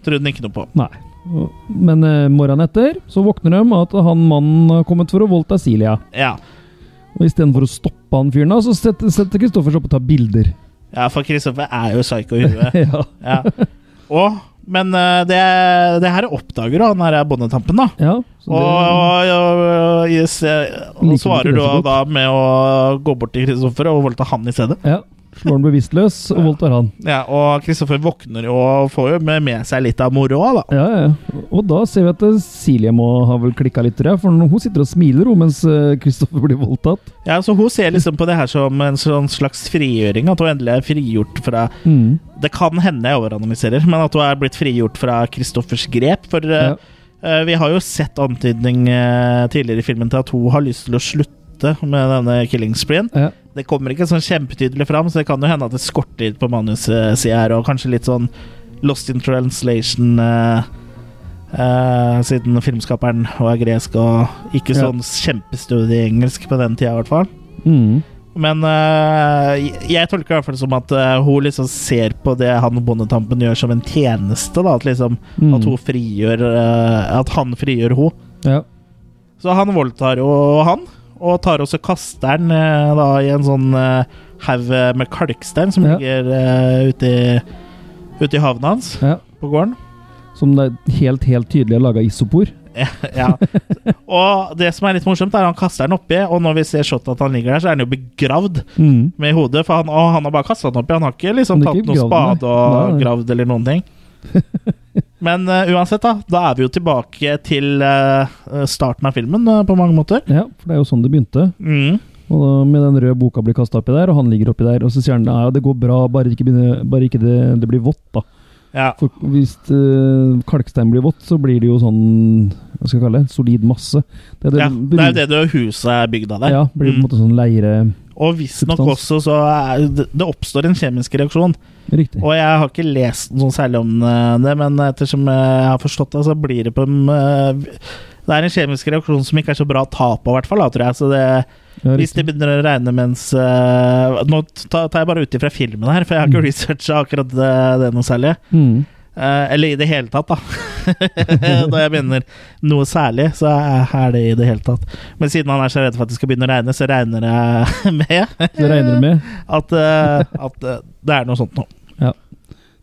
trodde han ikke noe på. Nei. Og- Men eh, morgenen etter så våkner de av at han mannen har kommet for å voldta Silja. Ja, Og istedenfor å stoppe han fyren, da, så setter setter Kristoffer seg opp og tar bilder. ja for Kristoffer er jo psycho i huet. Ja. Ja. Og, men eh, det, det her oppdager jo han her er bondetampen, da. ja så Og, og, og, og, yes, eh, og Liker svarer ikke det du så godt. da med å gå bort til Kristoffer og voldta han i stedet. ja. Slår han bevisstløs og voldtar han. Ja, Og Kristoffer våkner jo og får jo med- med seg litt av moroa, da. Ja, ja, ja. Og da ser vi at eh, Silje må ha vel klikka litt, tror jeg. For hun sitter og smiler hun, mens eh, Kristoffer blir voldtatt. Ja, så Hun ser liksom på det her som en sånn slags frigjøring. At hun endelig er frigjort fra Mm. Det kan hende jeg overanalyserer, men at hun er blitt frigjort fra Kristoffers grep. For eh, Ja. eh, vi har jo sett antydning eh, tidligere i filmen til at hun har lyst til å slutte med denne killing spreen. Ja. Det kommer ikke sånn kjempetydelig fram, så det kan jo hende at det skorter på manussida her, og kanskje litt sånn lost in translation eh, eh, siden filmskaperen var gresk og ikke Ja. sånn kjempestudie i engelsk på den tida, i hvert fall. Mm. Men øh, jeg- jeg tolker i hvert fall som at øh, hun liksom ser på det han bondetampen gjør som en tjeneste. da At liksom Mm. At hun frigjør øh, At han frigjør hun Ja. Så han voldtar jo han, og tar også kasteren øh, da i en sånn øh, haug med kalkstein som Ja. ligger øh, ute i Ute i havna hans, ja. på gården. Som det er helt, helt tydelig er laga isopor. Ja. Og det som er litt morsomt, er at han kaster den oppi, og når vi ser shot at han ligger der, så er han jo begravd. Mm. med hodet, for han, å, han har bare kasta den opp i. Han har ikke liksom Han har tatt ikke noen gravd, spade nei. og Nei, nei. gravd eller noen ting. Men eh, uansett, da. Da er vi jo tilbake til eh, starten av filmen eh, på mange måter. Ja, for det er jo sånn det begynte. Mm. Og da, med den røde boka blir kasta oppi der, og han ligger oppi der. Og så sier han ja, det går bra, bare ikke, begynner, bare ikke det, det blir vått, da. Ja. For hvis eh, kalkstein blir vått, så blir det jo sånn Hva skal jeg kalle det? Solid masse. Det er ja. Det er jo det det huset er bygd av der. Ja, blir på en Mm. måte sånn leire... Og visstnok substans. også så er, det- det oppstår en kjemisk reaksjon. Riktig. Og jeg har ikke lest noe særlig om eh, det, men ettersom eh, jeg har forstått det, så blir det på en eh, Det er en kjemisk reaksjon som ikke er så bra å ta på, i hvert fall, da, tror jeg. Så det, Ja, Hvis det riktig. begynner å regne mens eh, Nå tar tar jeg bare ut ifra filmen her, for jeg har ikke Mm. researcha akkurat det, det noe særlig. Mm. Eh, eller i det hele tatt, da. Når jeg mener noe særlig, så er det i det hele tatt. Men siden han er så redd for at det skal begynne å regne, så regner jeg med Det regner du med. at, eh, at eh, det er noe sånt nå.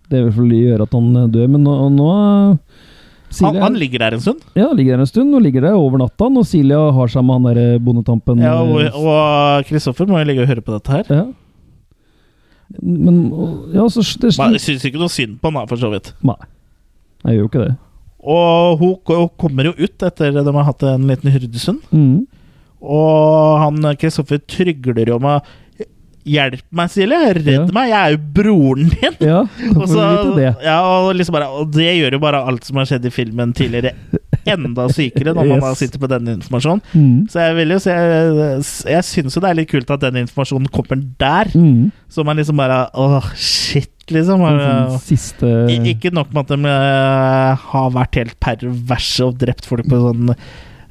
Det vil vel gjøre at han eh, dør, men nå, og nå Han, Silja han ligger der en stund, ja, ligger der en stund og ligger der over natta, og Silja har seg med han der eh, bondetampen. ja, og, eh, og Kristoffer må jo ligge og høre på dette her. ja. Men og- Ja, så det Man syns ikke noe synd på han, da, for så vidt. Nei. Jeg gjør jo ikke det. Og hun ko- kommer jo ut etter at de har hatt en liten hyrdesund. Mm. Og han Kristoffer trygler jo med 'Hjelp meg, Silje! Redd Ja. meg! Jeg er jo broren din!' Ja, da Og, får vi så, vite det. ja, og, liksom bare, og det gjør jo bare alt som har skjedd i filmen tidligere, enda sykere, når man da Yes. sitter på denne informasjonen. Mm. Så jeg vil jo si Jeg, jeg syns jo det er litt kult at den informasjonen kommer der. Mm. Så man liksom bare Åh, shit, liksom. En sånn siste I- Ikke nok med at de eh, har vært helt perverse og drept folk på sånn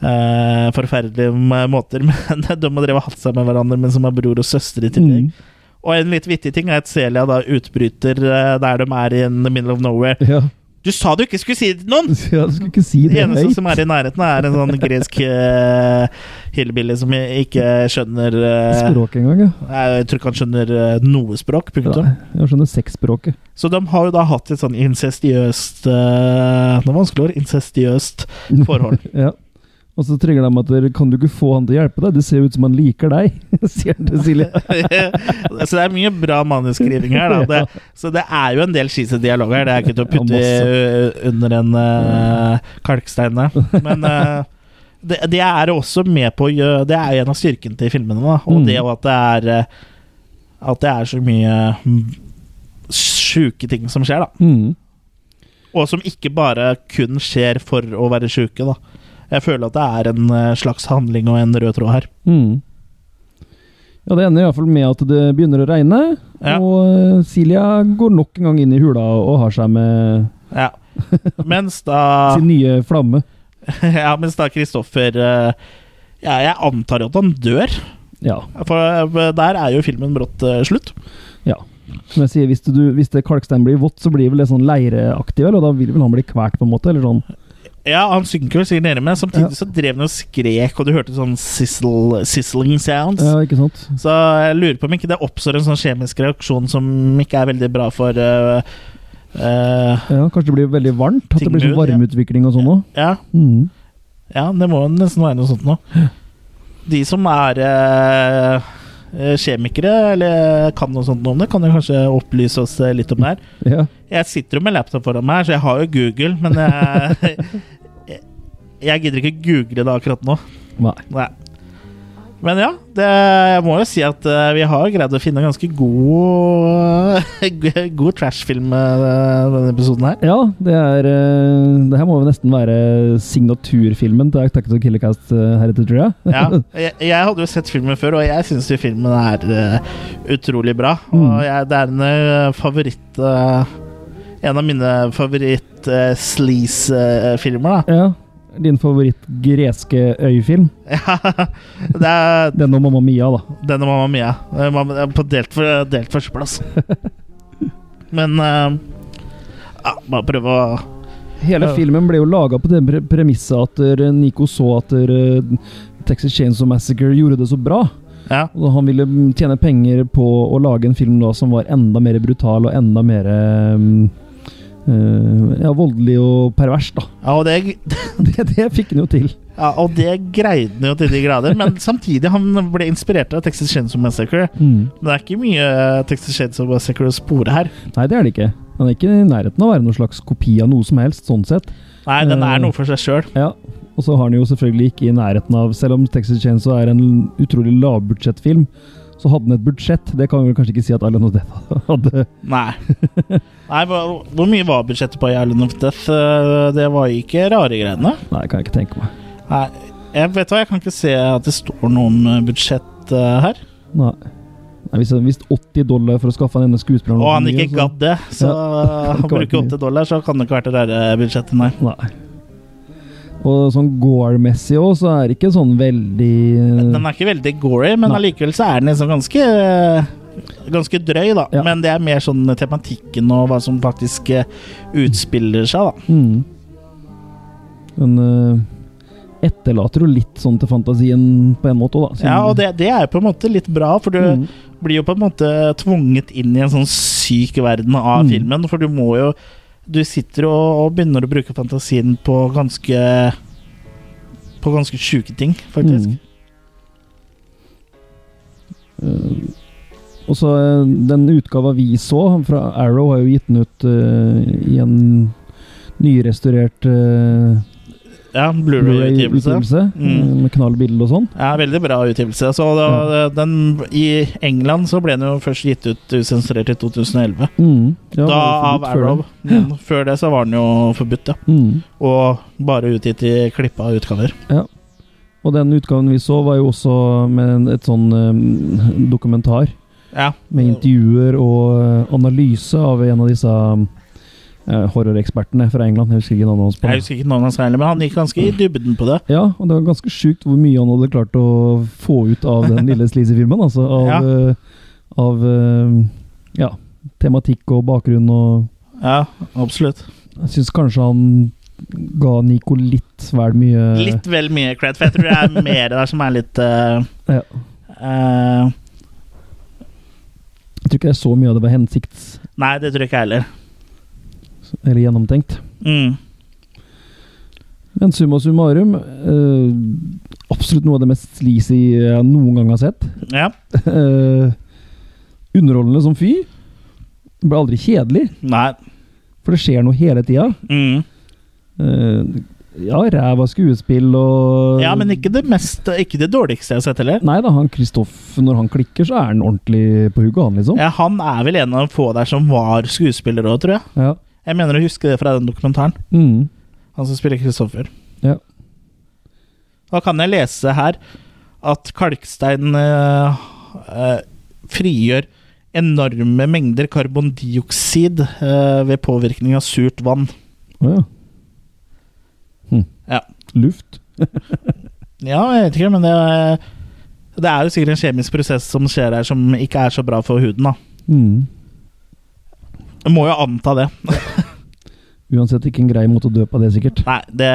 eh, forferdelige m- måter, men de har drevet og hatt seg med hverandre, men som er bror og søster i tillegg. Mm. Og en litt vittig ting er at Celia da utbryter eh, der de er i the middle of nowhere. Ja. Du sa du ikke skulle si det til noen! ja, du skulle ikke si Det det eneste som er i nærheten, er en sånn gresk uh, hillbilly som ikke skjønner eh, Språk engang, ja. Jeg tror ikke han skjønner eh, noe språk, punktum. Nei, jeg skjønner sexspråket. Så de har jo da hatt et sånn incestiøst eh, Det er vanskelig ord. Incestiøst forhold. ja. Og så trygger de at dere kan du ikke få han til å hjelpe deg, det ser ut som han liker deg, sier han til Silje. så det er mye bra manusskriving her. Da. Det, så det er jo en del skise dialoger. Det er ikke til å putte Ja, eh, under en eh, kalkstein, det. Men eh, det, det er også med på å gjø- Det er jo en av styrkene til filmene, da. Og Mm. det og at det er eh, At det er så mye mm, sjuke ting som skjer, da. Mm. Og som ikke bare kun skjer for å være sjuke, da. Jeg føler at det er en eh, slags handling og en rød tråd her. Mm. Ja, det ender iallfall med at det begynner å regne, Ja. og eh, Silja går nok en gang inn i hula og har seg med Ja. Mens da sin nye flamme. Ja, mens da Kristoffer eh, Ja, jeg antar jo at han dør, Ja. for eh, der er jo filmen brått eh, slutt. ja. Som jeg sier, hvis, du, hvis det kalkstein blir vått, så blir vel det sånn leireaktig, vel, og da vil vel han bli kvalt, på en måte? Eller sånn. Ja, han synker vel sikkert nede, men samtidig så drev han og skrek, og du hørte sånn sizzle, sizzling sounds. Ja, ikke sant? Så jeg lurer på om ikke det oppstår en sånn kjemisk reaksjon som ikke er veldig bra for eh, eh, Ja, Kanskje det blir veldig varmt? At det blir sånn Tingbud, ja. varmeutvikling og sånn òg? Ja, Mm. Ja, det må jo nesten være noe sånt nå. De som er eh, eh, kjemikere, eller kan noe sånt om det, kan jo kanskje opplyse oss eh, litt om det her. Ja. Jeg sitter jo med laptop foran meg, her, så jeg har jo Google, men jeg, jeg, jeg gidder ikke google det akkurat nå. Nei. Nei. Men ja, det, jeg må jo si at eh, vi har greid å finne ganske god, god trashfilm eh, denne episoden her. Ja, det er eh, Det her må jo nesten være signaturfilmen til Attack of the Killer Cast eh, heretter, tror jeg. Ja, jeg, jeg hadde jo sett filmen før, og jeg syns filmen er eh, utrolig bra. Og Mm. jeg, det er en eh, favoritt eh, En av mine eh, favoritt-sleaze-filmer, eh, da. ja. Din favoritt greske øyfilm? Ja, det er Den om Mamma Mia, da. den og Mamma Mia. Eh, Mamma- det er På delt, for- delt førsteplass. Men eh, ja, bare prøve å Hele Ja. filmen ble jo laga på det pre- premisset at eh, Nico så at eh, Texas Chainsaw Massacre gjorde det så bra. Ja. Og da han ville mm, tjene penger på å lage en film da som var enda mer brutal og enda mer mm, eh, ja, voldelig og pervers, da. ja og det Det, det fikk han jo til. ja, og det greide han jo til de grader, men samtidig han ble inspirert av Texas Chainsaw Massacre. Men det er ikke mye eh, Texas Chainsaw Massacre å spore her. Nei, det er det ikke. Han er ikke i nærheten av å være noen slags kopi av noe som helst, sånn sett. Nei, den Eh, er noe for seg sjøl. Ja, Og så har han jo selvfølgelig ikke i nærheten av Selv om Texas Chainsaw er en utrolig lavbudsjettfilm, så hadde han et budsjett. Det kan vi vel kanskje ikke si at Island of Death hadde. Nei. Nei, hva- Hvor mye var budsjettet på Island of Death? Eh, Det var jo ikke rare greiene. Nei, kan jeg ikke tenke meg. Nei, jeg vet hva, jeg kan ikke se at det står noe om eh, budsjett eh, her. Nei. Nei hvis han visste 80 dollar for å skaffe han ene skuespilleren Og var for han mye, ikke Mm. så- gadd det, så Ja. han bruker 80 dollar, så kan det ikke vært det rare budsjettet, nei. Nei. Og sånn gore-messig òg, så er det ikke sånn veldig Den er ikke veldig gory, men Mm. Nei. allikevel så er den liksom ganske eh, Ganske drøy, da. Ja. Men det er mer sånn tematikken og hva som faktisk eh, utspiller seg, da. Mm. Men eh, etterlater jo litt sånn til fantasien på en måte òg, da. siden- Ja, og det, det er jo på en måte litt bra, for du Mm. blir jo på en måte tvunget inn i en sånn syk verden av Mm. filmen, for du må jo Du sitter og, og begynner å bruke fantasien på ganske På ganske sjuke ting, faktisk. Mm. Eh, og så eh, den utgava vi så, fra Arrow, har jo gitt den ut eh, i en nyrestaurert eh, Ja, Blu-ray-utgivelse. Mm. Med knallbilde og sånn. Ja, veldig bra utgivelse. Så da, Mm. eh, den, I England så ble den jo først gitt ut usensurert i 2011. Mm. Ja, da det av var forbudt før Arrow. det. Mm, Før det så var den jo forbudt, ja. det. Mm. Og bare utgitt i klippa utgaver. Og den utgaven vi så, var jo også med en- et sånn eh, dokumentar. Ja. Med intervjuer og eh, analyse av en av disse eh, horrorekspertene fra England. Jeg husker ikke navnet hans. på Jeg det. husker ikke navnet hans heller, men han gikk ganske i dybden på det. Ja, og det var ganske sjukt hvor mye han hadde klart å få ut av den lille sleazy-filmen. Altså av, eh, av eh, ja, tematikk og bakgrunn og Ja, absolutt. Jeg syns kanskje han ga Nico litt vel mye Litt vel mye cred, for jeg tror det er mer der som er litt eh, Ja. eh, Jeg tror ikke det er så mye av det var hensikts Nei, det tror jeg ikke jeg heller. eller gjennomtenkt. Mm. Men summa summarum eh, Absolutt noe av det mest sleazy jeg noen gang har sett. Ja. Eh, underholdende som fy. Det Ble aldri kjedelig, Nei. for det skjer noe hele tida. Mm. Eh, ja, ræva skuespill og Ja, men ikke det mest Ikke det dårligste jeg har sett heller. Nei da, han Kristoff, når han klikker, så er han ordentlig på hugget, han, liksom. Ja, han er vel en av de få der som var skuespiller òg, tror jeg. Ja. Jeg mener å huske det fra den dokumentaren. Mm. Han som spiller Kristoffer. Ja. Da kan jeg lese her at kalkstein eh, eh, frigjør enorme mengder karbondioksid eh, ved påvirkning av surt vann. Å ja. Hm. Ja. Luft. Ja, jeg vet ikke, men det, det er jo sikkert en kjemisk prosess som skjer her som ikke er så bra for huden. da. Mm. Jeg må jo anta det. Uansett ikke en grei måte å dø på det, sikkert. Nei, det,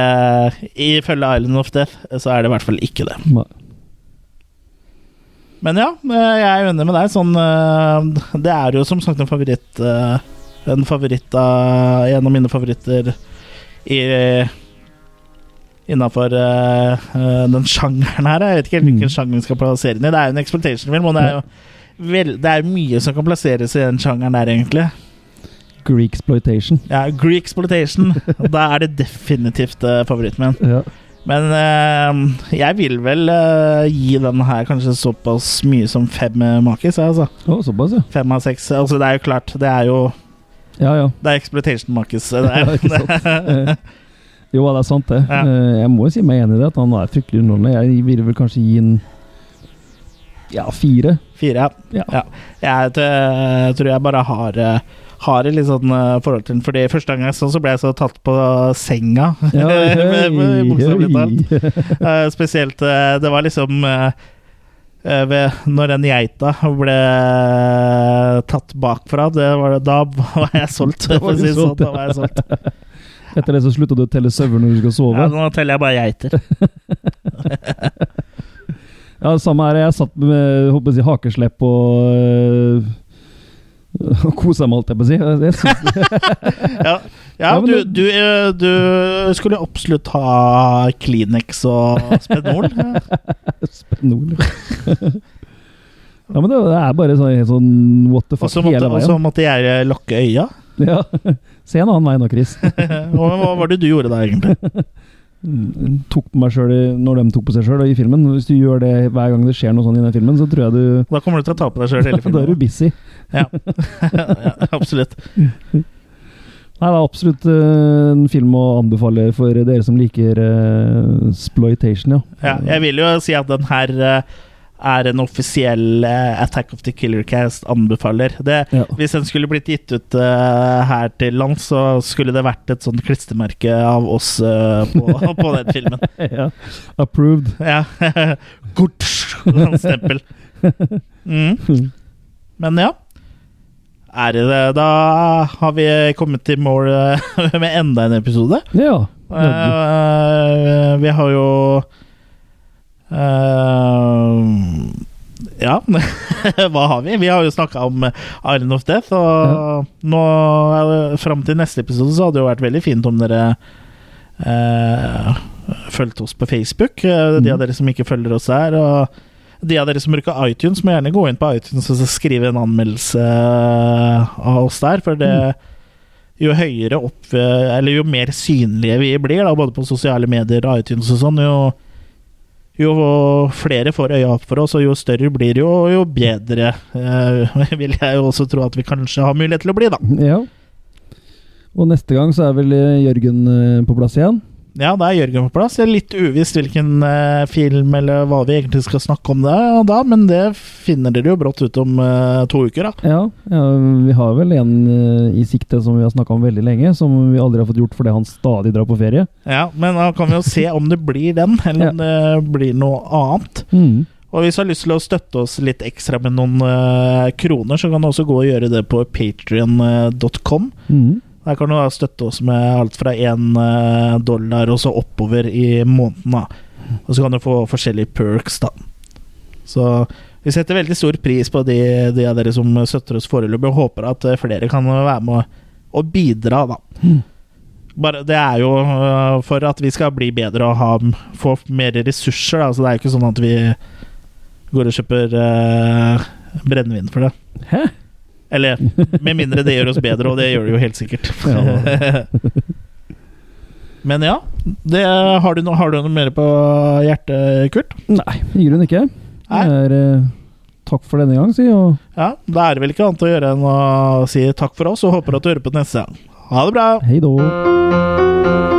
ifølge Island of Death så er det i hvert fall ikke det. Nei. Men ja, eh, jeg er enig med deg. Sånn, eh, det er jo som sagt en favoritt eh, En favoritt av En av mine favoritter i Innafor eh, den sjangeren her. Jeg vet ikke helt hvilken Mm. sjanger vi skal plassere den i. Det er jo en exploitation-film, og det er jo vel, det er jo mye som kan plasseres i den sjangeren der, egentlig. Greek exploitation. Ja, Greek exploitation. da er det definitivt eh, favoritten min. Ja. Men eh, jeg vil vel eh, gi den her kanskje såpass mye som fem eh, makis, jeg, altså. Å, såpass, ja. Fem av seks. Altså, det er jo klart, det er jo Ja, ja. Det er exploitation-markeds. Ja, ikke Eh, jo, det er sant, det. Ja. Eh, jeg må jo si meg enig i det, at han er fryktelig underholdende. Jeg ville vel kanskje gi en ja, fire. Fire, ja. Ja. ja. Jeg t- tror jeg bare har eh, har et litt sånn eh, forhold til den. Fordi første gang jeg så så ble jeg så tatt på senga. Ja, Med- med bokstavelig talt. hei. Eh, spesielt eh, Det var liksom eh, eh, ved, Når den geita ble tatt bakfra, det var, da var jeg solgt. Da var for å du si det sånn, solgt, da var jeg solgt. Etter det så slutter du å telle sauer når du skal Ja, sove. nå teller jeg bare geiter. Ja, det samme her. Jeg satt med håper jeg, å si, hakeslepp og øh, og kosa meg, holdt jeg på å si. Jeg, jeg synes, Ja, ja Ja, men du, det- du, eh, du skulle absolutt ha Kleenex og Spenol. Spennende. Ja, men det, det er bare sånn, helt sånn what the Og fuck så måtte, hele og veien. så måtte jeg eh, lukke øya. Ja. Se en annen vei nå, Chris. Hva hva var det du gjorde da, egentlig? Mm, Tok på meg selv, i- når de tok på seg sjøl i filmen. Hvis du gjør det hver gang det skjer noe sånn i den filmen, så tror jeg du Da kommer du til å ta på deg sjøl hele Da er du filmen. busy. ja, absolutt. Nei, det er absolutt eh, en film å anbefale for dere som liker eh, exploitation, ja. Ja, jeg vil jo si at den her eh, er en offisiell eh, Attack of the Killer Cast anbefaler. Det, ja. hvis den skulle blitt gitt ut eh, her til lands, så skulle det vært et sånt klistremerke av oss eh, på, på den filmen. ja. Approved. Ja. Gortsj, sånn stempel. Mm. Men ja. Er det det? Da har vi kommet i mål eh, med enda en episode. Ja. Jaggu. Eh, vi har jo eh, Ja, hva har vi? Vi har jo snakka om Island of Death, og nå eh, fram til neste episode så hadde det jo vært veldig fint om dere eh, fulgte oss på Facebook. eh, De av dere som ikke følger oss der. og de av dere som bruker iTunes, må gjerne gå eh, inn på iTunes og så skrive en anmeldelse av oss der, for det jo høyere opp eh, Eller jo mer synlige vi blir, da, både på sosiale medier og iTunes og sånn, jo, jo flere får øya opp for oss, og jo større blir det jo, og jo bedre eh, vil jeg jo også tro at vi kanskje har mulighet til å bli, da. Ja. Og neste gang så er vel eh, Jørgen eh, på plass igjen. Ja, da er Jørgen på plass. Det er litt uvisst hvilken eh, film eller hva vi egentlig skal snakke om det da, men det finner dere jo brått ut om eh, to uker, da. Ja, ja vi har vel en eh, i sikte som vi har snakka om veldig lenge, som vi aldri har fått gjort fordi han stadig drar på ferie. Ja, Men da kan vi jo se om det blir den, eller om det blir noe annet. Mm. Og hvis du har lyst til å støtte oss litt ekstra med noen eh, kroner, så kan du også gå og gjøre det på eh, patrion.com. Mhm. Der kan du da støtte oss med alt fra én eh, dollar og så oppover i måneden. da. Og så kan du få forskjellige perks, da. Så vi setter veldig stor pris på de, de av dere som støtter oss foreløpig, og håper at eh, flere kan være med og, og bidra, da. Mhm. Bare, det er jo øh, for at vi skal bli bedre og ha, få mer ressurser. Da. Så det er jo ikke sånn at vi går og kjøper øh, brennevin for det. Hæ? Eller med mindre det gjør oss bedre, og det gjør det jo helt sikkert. Ja. Men ja, det, har, du noe, har du noe mer på hjertet, Kurt? Nei, i grunnen ikke. Det Nei. er eh, takk for denne gang, si. Og Ja, Da er det vel ikke annet å gjøre enn å si takk for oss, og håper at du hører på neste gang. Ha det bra! hei då. Thank